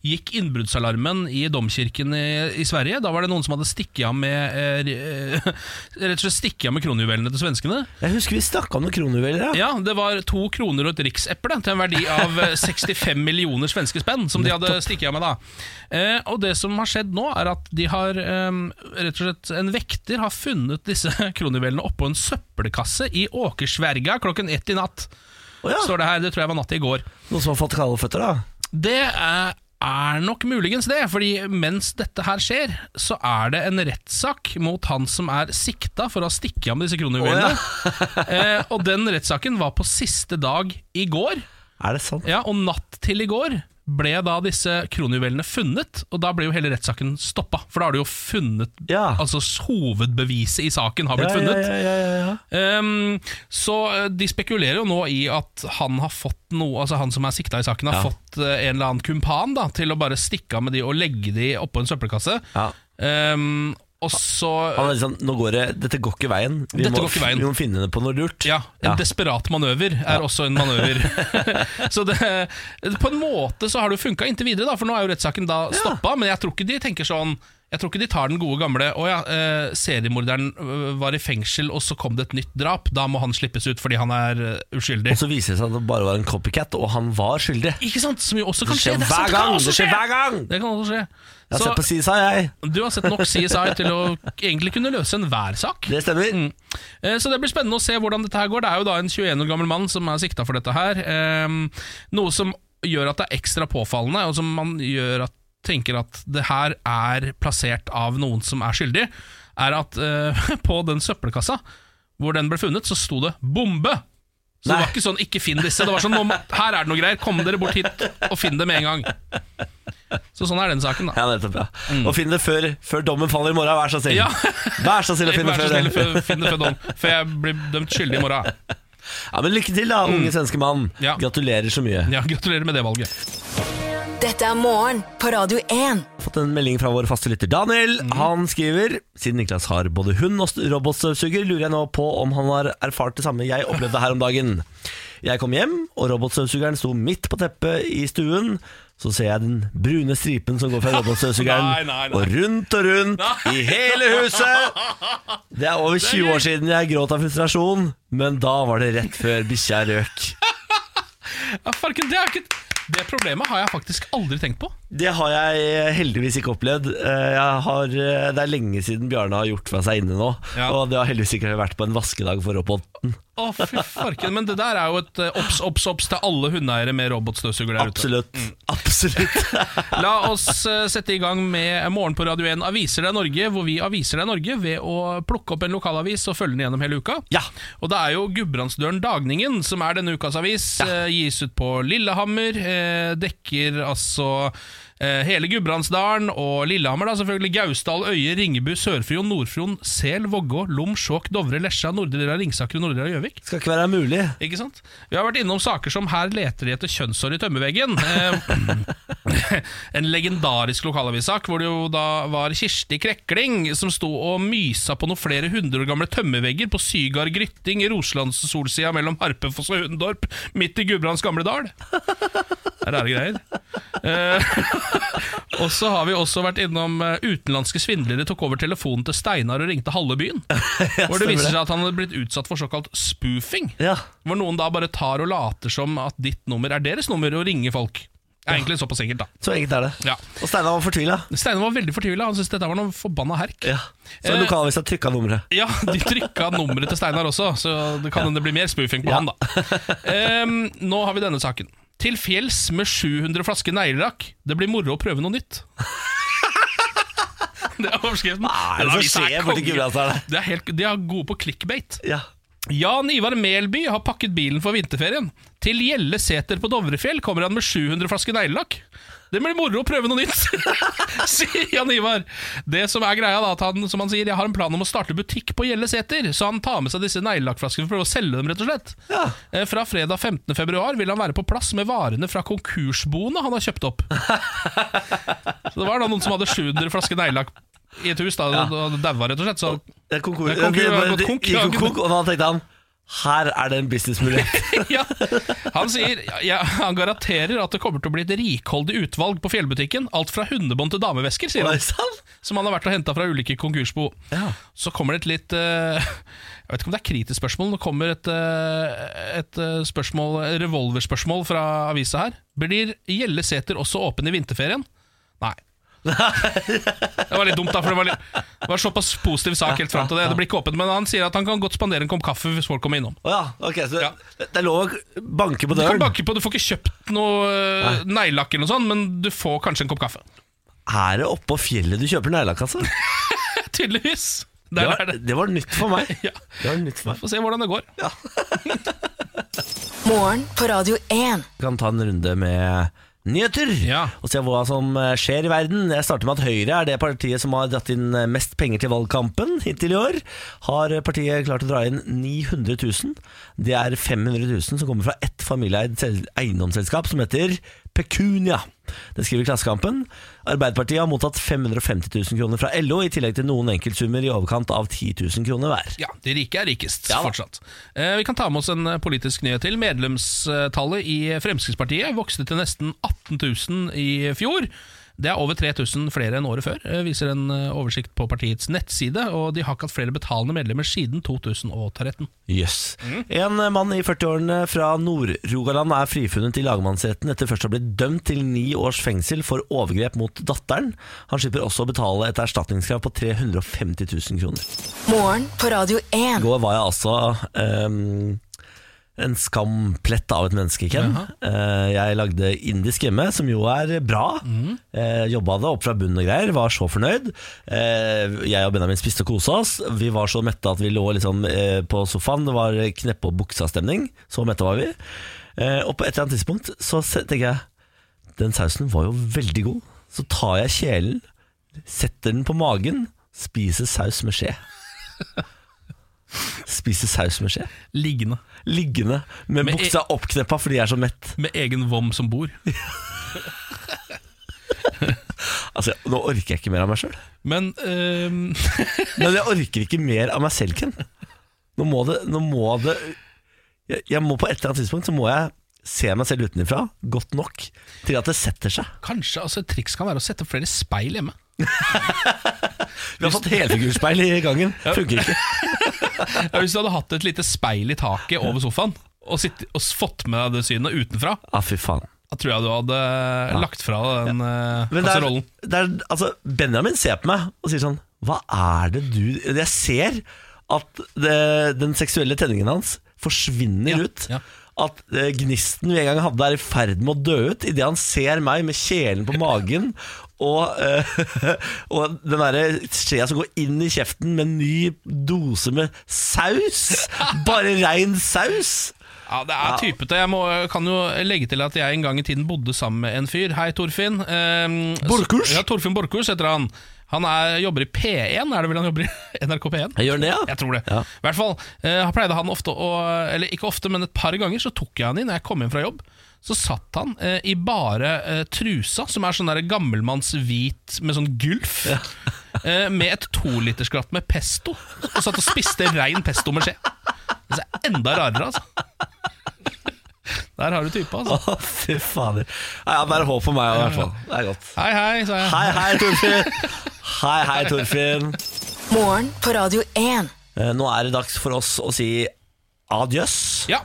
B: gikk innbruddsalarmen i domkirken i, i Sverige? Da var det noen som hadde stikket av med eh, *laughs* re- Rett og slett stikket av med kronjuvelene til svenskene.
A: Jeg husker vi snakka om noen kronjuveler. Ja.
B: Ja, Det var to kroner og et rikseple til en verdi av eh, 65 millioner svenske spenn. Som de hadde stikket av med da eh, Og det som har skjedd nå, er at de har eh, rett og slett en vekter har funnet disse *laughs* kronjuvelene oppå en søppelkasse i Åkersverga klokken ett i natt.
A: Å ja.
B: Står det her, det tror jeg var natt i går.
A: Noen som har fått kalde føtter, da.
B: Det er er nok muligens det, fordi mens dette her skjer, så er det en rettssak mot han som er sikta for å ha stikket av med disse kronjuvelene. *laughs* eh, og den rettssaken var på siste dag i går,
A: Er det sant?
B: ja, og natt til i går ble da disse kronjuvelene funnet, og da ble jo hele rettssaken stoppa. For da har du jo funnet
A: Ja.
B: Altså hovedbeviset i saken har blitt funnet.
A: Ja, ja, ja, ja.
B: Ehm, så eh, de spekulerer jo nå i at han har fått noe Altså han som er sikta i saken, har
A: Ja.
B: fått eh, en eller annen kumpan da til å bare stikke av med de og legge de oppå en søppelkasse.
A: Ja.
B: Ehm, og så
A: Han er litt sånn, nå går det, dette går ikke veien. Vi,
B: Dette
A: må,
B: går ikke veien.
A: vi må finne det på noe lurt.
B: ja, En
A: Ja.
B: desperat manøver er også en
A: *laughs*
B: manøver. så det, på en måte så har det jo funka inntil videre, da, for nå er jo rettssaken da stoppa. Men jeg tror ikke de tenker sånn Jeg tror ikke de tar den gode gamle Å ja, eh, seriemorderen eh, var i fengsel, og så kom det et nytt drap. Da må han slippes ut fordi han er eh, uskyldig.
A: Og så viser det seg at det bare var en copycat, og han var skyldig.
B: Ikke sant? Som jo også kan
A: Det
B: skje.
A: skjer
B: Det, er sant,
A: hver
B: det kan
A: gang!
B: også
A: Det skjer
B: skje.
A: hver gang!
B: Det kan også skje.
A: Jeg har
B: Så
A: sett på CSI, jeg.
B: du har sett nok CSI til å egentlig kunne løse enhver sak.
A: Det stemmer.
B: Mm. Eh, Så det blir spennende å se hvordan dette her går. Det er jo da en 21 år gammel mann som er sikta for dette her. Ehm, Noe som gjør at det er ekstra påfallende, og som man gjør at, tenker at det her er plassert av noen som er skyldig, er at eh, *laughs* på den søppelkassa hvor den ble funnet, så sto det 'bombe'. Så det
A: Nei.
B: var ikke sånn 'ikke finn disse'. Det var sånn nå må- 'her er det noe greier, kom dere bort hit og finn det med en gang'. Så sånn er den saken, da.
A: Ja, nettopp, ja. Og finn det før, før dommen faller i morgen, vær så snill.
B: Mm. Ja.
A: Vær så
B: *laughs*
A: snill å finne
B: Vær så
A: før det.
B: snill, fø- finn det før dom, for jeg blir dømt skyldig i morgen.
A: Ja, men lykke til, da, unge svenske mann.
B: Mm. Ja.
A: Gratulerer så mye.
B: Ja, gratulerer med det valget.
C: Dette er morgen på Radio 1.
A: fått en melding fra vår faste lytter Daniel.
B: Mhm.
A: Han skriver Siden Niklas har både hund og st- robotstøvsuger, lurer jeg nå på om han har erfart det samme jeg opplevde her om dagen. Jeg kom hjem, og robotstøvsugeren sto midt på teppet i stuen. Så ser jeg den brune stripen som
B: *laughs*
A: går fra
B: Nei,
A: robotstøvsugeren
B: nei, nei.
A: og rundt og rundt i hele huset. Det er over 20 år siden jeg gråt av frustrasjon, men da var det rett før bikkja røk.
B: Ja, farken, det, er ikke, det problemet har jeg faktisk aldri tenkt på.
A: Det har jeg eh, heldigvis ikke opplevd. Eh, Jeg har, eh, det er lenge siden Bjarne har gjort fra seg inne nå.
B: Ja.
A: Og det har heldigvis ikke vært på en vaskedag for roboten.
B: Å, fy farken, Men det der er jo et eh, obs, obs, obs til alle hundeeiere med robotstøvsuger der ute.
A: Absolutt. *laughs*
B: *laughs*
A: Absolutt.
B: La oss eh, sette i gang med Morgen på Radio 1 Aviser deg Norge, hvor vi aviser deg Norge ved å plukke opp en lokalavis og følge den gjennom hele uka.
A: Ja.
B: Og det er jo Gudbrandsdølen Dagningen som er denne ukas avis. eh, Gis ut på Lillehammer. eh, Dekker altså eh, hele Gudbrandsdalen og Lillehammer, da selvfølgelig. Gausdal, Øye, Ringebu, Sør-Fron, Nord-Fron, Sel, Vågå, Lom, Skjåk, Dovre, Lesja, Nordre del av Ringsaker og Nordre del av Gjøvik.
A: Skal ikke være mulig.
B: *laughs* Ikke sant? Vi har vært innom saker som Her leter de etter kjønnshår i tømmerveggen. Eh, *laughs* en legendarisk lokalavissak hvor det jo da var Kirsti Krekling som sto og mysa på noen flere hundre år gamle tømmervegger på Sygard Grytting i Roslandssolsida mellom Harpefoss og Hundorp, midt i Gudbrands gamle dal. Det er rare greier. Eh, *laughs* og så har vi også vært innom eh, utenlandske svindlere tok over telefonen til Steinar og ringte halve byen. Hvor det viser seg at han hadde blitt utsatt for såkalt spoofing.
A: Ja.
B: Hvor noen da bare tar og later som at ditt nummer er deres nummer, og ringer folk. Det er egentlig såpass enkelt, da.
A: Så enkelt er det.
B: Ja.
A: Og Steinar var fortvila.
B: Steinar var veldig fortvila. Han syntes dette var noe forbanna herk.
A: Ja. Så
B: Eh.
A: lokalavisa trykka nummeret.
B: Ja, de trykka nummeret til Steinar også, så det kan hende det blir mer spoofing på
A: Ja.
B: han, da. Em, nå har vi denne saken. Til fjells med 700 flasker neglelakk. Det blir moro å prøve noe
A: *laughs*
B: nytt. Det er overskriften.
A: Hva er det
B: Den
A: som
B: avisen
A: skjer borti altså.
B: konge.
A: Gudbrandsdalen?
B: Det er helt- De er gode på clickbait.
A: Ja.
B: Jan Ivar Melby har pakket bilen for vinterferien. Til Gjelle Sæter på Dovrefjell kommer han med 700 flasker neglelakk. Det blir moro å prøve noe nytt, *laughs* sier Jan Ivar. Det som er greia da, at han, som han sier, jeg har en plan om å starte butikk på Gjelle Sæter, så han tar med seg disse neglelakkflaskene for å prøve å selge dem, rett og slett.
A: Ja.
B: Eh, Fra fredag 15. februar vil han være på plass med varene fra konkursboene han har kjøpt opp. Så det var da noen som hadde 700 flasker neglelakk i et hus, da, og daua, rett og slett. Så
A: Det er konkurs.
B: Det er konkurs,
A: Det
B: det
A: bare-
B: er
A: det
B: konk,
A: gikk
B: ja.
A: konk, og da tenkte han her er det en
B: *laughs*
A: businessmulighet.
B: ja. Han sier ja, Han garanterer at det kommer til å bli et rikholdig utvalg på fjellbutikken. Alt fra hundebånd til damevesker, sier
A: Var det
B: han.
A: sant?
B: Som han har vært og henta fra ulike konkursbo.
A: Ja.
B: Så kommer det et litt eh, Jeg vet ikke om det er kritisk spørsmål. Det kommer et, eh, et eh, spørsmål, revolverspørsmål fra avisa her. Blir Gjellesæter også åpen i vinterferien? Nei. Det var litt dumt, da, for det var, litt, det var såpass positiv sak helt fram til det. Det blir ikke åpent, men han sier at han kan godt spandere en kopp kaffe hvis folk kommer innom.
A: Å ja, ok, så
B: Ja.
A: det det er lov å banke på
B: Du kan
A: døren.
B: banke på, du får ikke kjøpt noe eh, neglelakk eller noe sånt, men du får kanskje en kopp kaffe. *laughs*
A: Er det oppå fjellet du kjøper neglelakk, altså?
B: Tydeligvis.
A: Det
B: Der
A: var,
B: er det. *laughs*
A: det var nytt for meg.
B: Ja.
A: Det var nytt for meg.
B: Få se hvordan det går.
C: Morgen på Radio 1.
A: Vi kan ta en runde med nyheter
B: Ja.
A: og se hva som eh, skjer i verden. Jeg starter med at Høyre er det partiet som har dratt inn eh, mest penger til valgkampen hittil i år. Har eh, partiet klart å dra inn 900 000. Det er 500 000 som kommer fra ett familieeid sel- eiendomsselskap som heter Pecunia. Det skriver Klassekampen. Arbeiderpartiet har mottatt 550 000 kroner fra LO, i tillegg til noen enkeltsummer i overkant av 10 000 kroner hver.
B: Ja, De rike er rikest
A: Ja da.
B: fortsatt. Eh, vi kan ta med oss en eh, politisk nyhet til. Medlemstallet i Fremskrittspartiet vokste til nesten 18 000 i fjor. Det er over 3000 flere enn året før, eh, viser en eh, oversikt på partiets nettside. Og de har ikke hatt flere betalende medlemmer siden 2013.
A: Jøss. En eh, mann i 40-årene fra Nord-Rogaland er frifunnet i lagmannsretten etter først å ha blitt dømt til ni års fengsel for overgrep mot datteren. Han slipper også å betale et erstatningskrav på 350 000 kroner.
C: Morgen på Radio
A: I
C: 1.
A: går var jeg altså ehm, en skamplett av et menneske, Ken. Eh, jeg lagde indisk hjemme, som jo er bra. Eh, jobba det opp fra bunnen og greier, var så fornøyd. Eh, jeg og Benjamin spiste og kosa oss. Vi var så mette at vi lå liksom, eh, på sofaen. Det var kneppe og buksa-stemning. Så mette var vi. Eh, og på et eller annet tidspunkt så se- tenker jeg den sausen var jo veldig god. Så tar jeg kjelen, setter den på magen, spiser saus med skje. Spiser saus med skje.
B: Liggende.
A: Liggende med
B: Men i-
A: buksa oppkneppa fordi jeg er så mett.
B: Med egen vom som bor.
A: Altså, Nå orker jeg ikke mer av meg sjøl.
B: Men *laughs* ehm,
A: Men jeg orker ikke mer av meg selv, Ken. Nå må det, nå må det jeg, jeg må På et eller annet tidspunkt så må jeg se meg selv utenfra godt nok til at det setter seg.
B: kanskje altså, et triks kan være å sette opp flere speil
A: *laughs*
B: hjemme.
A: Vi har fått helfigurspeil i gangen. Funker ikke.
B: Ja, hvis du hadde hatt et lite speil i taket over sofaen, og, sitt, og fått med deg det synet utenfra,
A: Ah, fy faen.
B: Da tror jeg du hadde eh, lagt fra deg den eh,
A: Men det er,
B: kasserollen.
A: det er, altså, Benjamin ser på meg og sier sånn Hva er det du Jeg ser at det, den seksuelle tenningen hans forsvinner
B: Ja,
A: ut.
B: ja.
A: At eh, gnisten vi en gang hadde, er i ferd med å dø ut idet han ser meg med kjelen på magen *laughs* og, eh, *laughs* og den derre skjea som går inn i kjeften med en ny dose med *laughs* saus. Bare rein saus.
B: Ja, det er typete. Jeg må, kan jo legge til at jeg en gang i tiden bodde sammen med en fyr. Hei, Torfinn. Ehm,
A: Borchhus?
B: så- Ja, Torfinn Borchhus heter han. Han er, jobber i P1, er det vel han jobber i? *laughs* NRK P1?
A: Jeg gjør den det, ja?
B: Jeg tror det.
A: Ja.
B: I hvert fall eh, pleide han ofte å Eller ikke ofte, men et par ganger så tok jeg han i når jeg kom hjem fra jobb. Så satt han eh, i bare eh, trusa, som er sånn der gammelmannshvit med sånn gulf. *laughs* eh, med et tolitersglatt med pesto. Og satt og spiste rein pesto med skje. Det er enda rarere, altså. Der har du typa, altså.
A: Å, fy fader. Nei, Ja, det er håp for meg i hvert fall. Det er godt.
B: Hei, hei, sa jeg.
A: Hei, hei, Torfinn. Hei, hei, Torfinn.
C: Morgen på Radio 1.
A: Eh, Nå er det dags for oss å si adjøs.
B: Ja.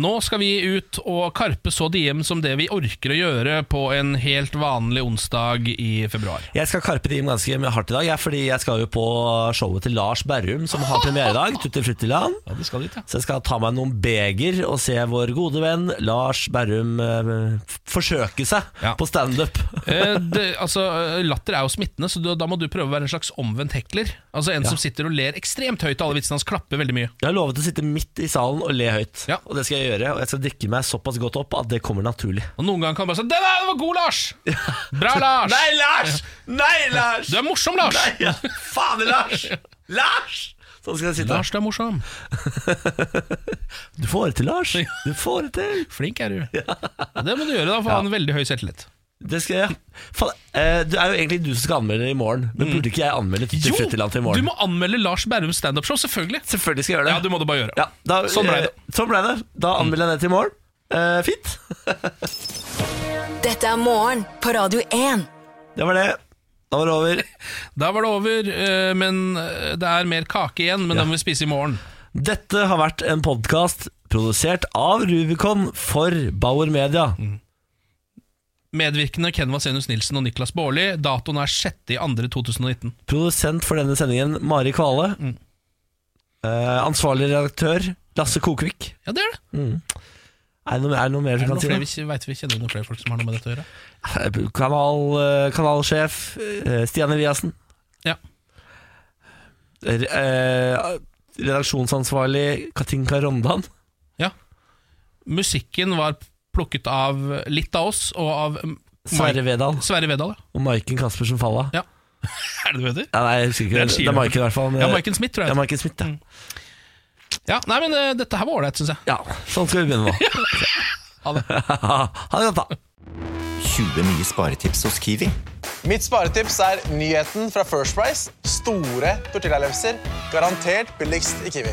B: Nå skal vi ut og karpe så diem som det vi orker å gjøre på en helt vanlig onsdag i februar.
A: Jeg skal karpe diem ganske mye hardt i dag, jeg, fordi jeg skal jo på showet til Lars Berrum, som har premiere i dag. Tutti Fruttiland.
B: Ja, det skal dit, ja.
A: Så jeg skal ta meg noen beger og se vår gode venn Lars Berrum eh, f- forsøke seg
B: Ja.
A: på standup.
B: Eh, det, altså, eh, latter er jo smittende, så du, da må du prøve å være en slags omvendt hekler. Altså En som sitter og ler ekstremt høyt, og alle vitsene hans klapper veldig mye.
A: Jeg har lovet å sitte midt i salen og le høyt,
B: Ja.
A: og det skal jeg gjøre. Og jeg skal drikke meg såpass godt opp at det kommer naturlig.
B: Og Noen ganger kan han bare si 'Den der var god, Lars!'
A: *laughs*
B: 'Bra, Lars!'
A: Lars! Nei, Lars!
B: Du er morsom, Lars!
A: Ja, fader, Lars! Lars! Sånn skal jeg sitte.
B: Lars, du er morsom.
A: Du får det til, Lars. Du får det til.
B: Flink
A: *laughs*
B: er du. Det må du gjøre, da, for han har veldig høy selvtillit.
A: Det skal jeg. Faen, eh, det er jo egentlig du som skal anmelde det i morgen, men burde ikke jeg anmelde Tutti Fruttiland til i
B: du
A: morgen?
B: må anmelde Lars Berrums standup-show, selvfølgelig!
A: Selvfølgelig skal jeg gjøre det.
B: Ja, det må du bare gjøre.
A: Ja, da,
B: Sånn ble det.
A: eh, sånn ble det. Da anmelder jeg det til i morgen. Eh, fint.
C: Dette er morgen på Radio 1.
A: Det var det. Da var det over.
B: Da var det over, eh, men eh, det er mer kake igjen, men den må vi spise i morgen.
A: Dette har vært en podkast produsert av Rubicon for Bauer Media.
B: Medvirkende Ken Vasenius Nilsen og Niklas Baarli. Datoen er 6.2.2019.
A: Produsent for denne sendingen, Mari Kvale. Eh, ansvarlig redaktør, Lasse Kokvik.
B: Ja, det er det.
A: Er det noe, er det noe mer
B: Er
A: du
B: det
A: kan
B: noen
A: si?
B: flere,
A: da?
B: vi vet vi kjenner noen flere folk som har noe med dette å gjøre?
A: Kanal, eh, kanalsjef eh, Stian Eliassen.
B: Ja.
A: R- eh, redaksjonsansvarlig Katinka Rondan.
B: ja. Musikken var plukket av litt av oss, og av um,
A: Sverre
B: Mai-
A: Vedal.
B: Sverre Vedal, ja.
A: Og Maiken Caspersen Falla.
B: Ja. Er det det du heter?
A: Ja, nei, jeg husker
B: Det
A: ikke.
B: er
A: Det,
B: en
A: det er Maiken i hvert fall. men-
B: Ja, Maiken Mm. Smith, tror jeg.
A: Ja, Maiken Smith, ja.
B: Ja, nei, men eh, dette her var ålreit, syns jeg.
A: ja. Sånn skal vi begynne
B: *laughs*
A: nå.
B: Ha det.
A: *laughs* ha det godt, da.
F: 20 nye sparetips hos Kiwi.
G: Mitt sparetips er nyheten fra First Price. Store tortillalefser. Garantert billigst i Kiwi.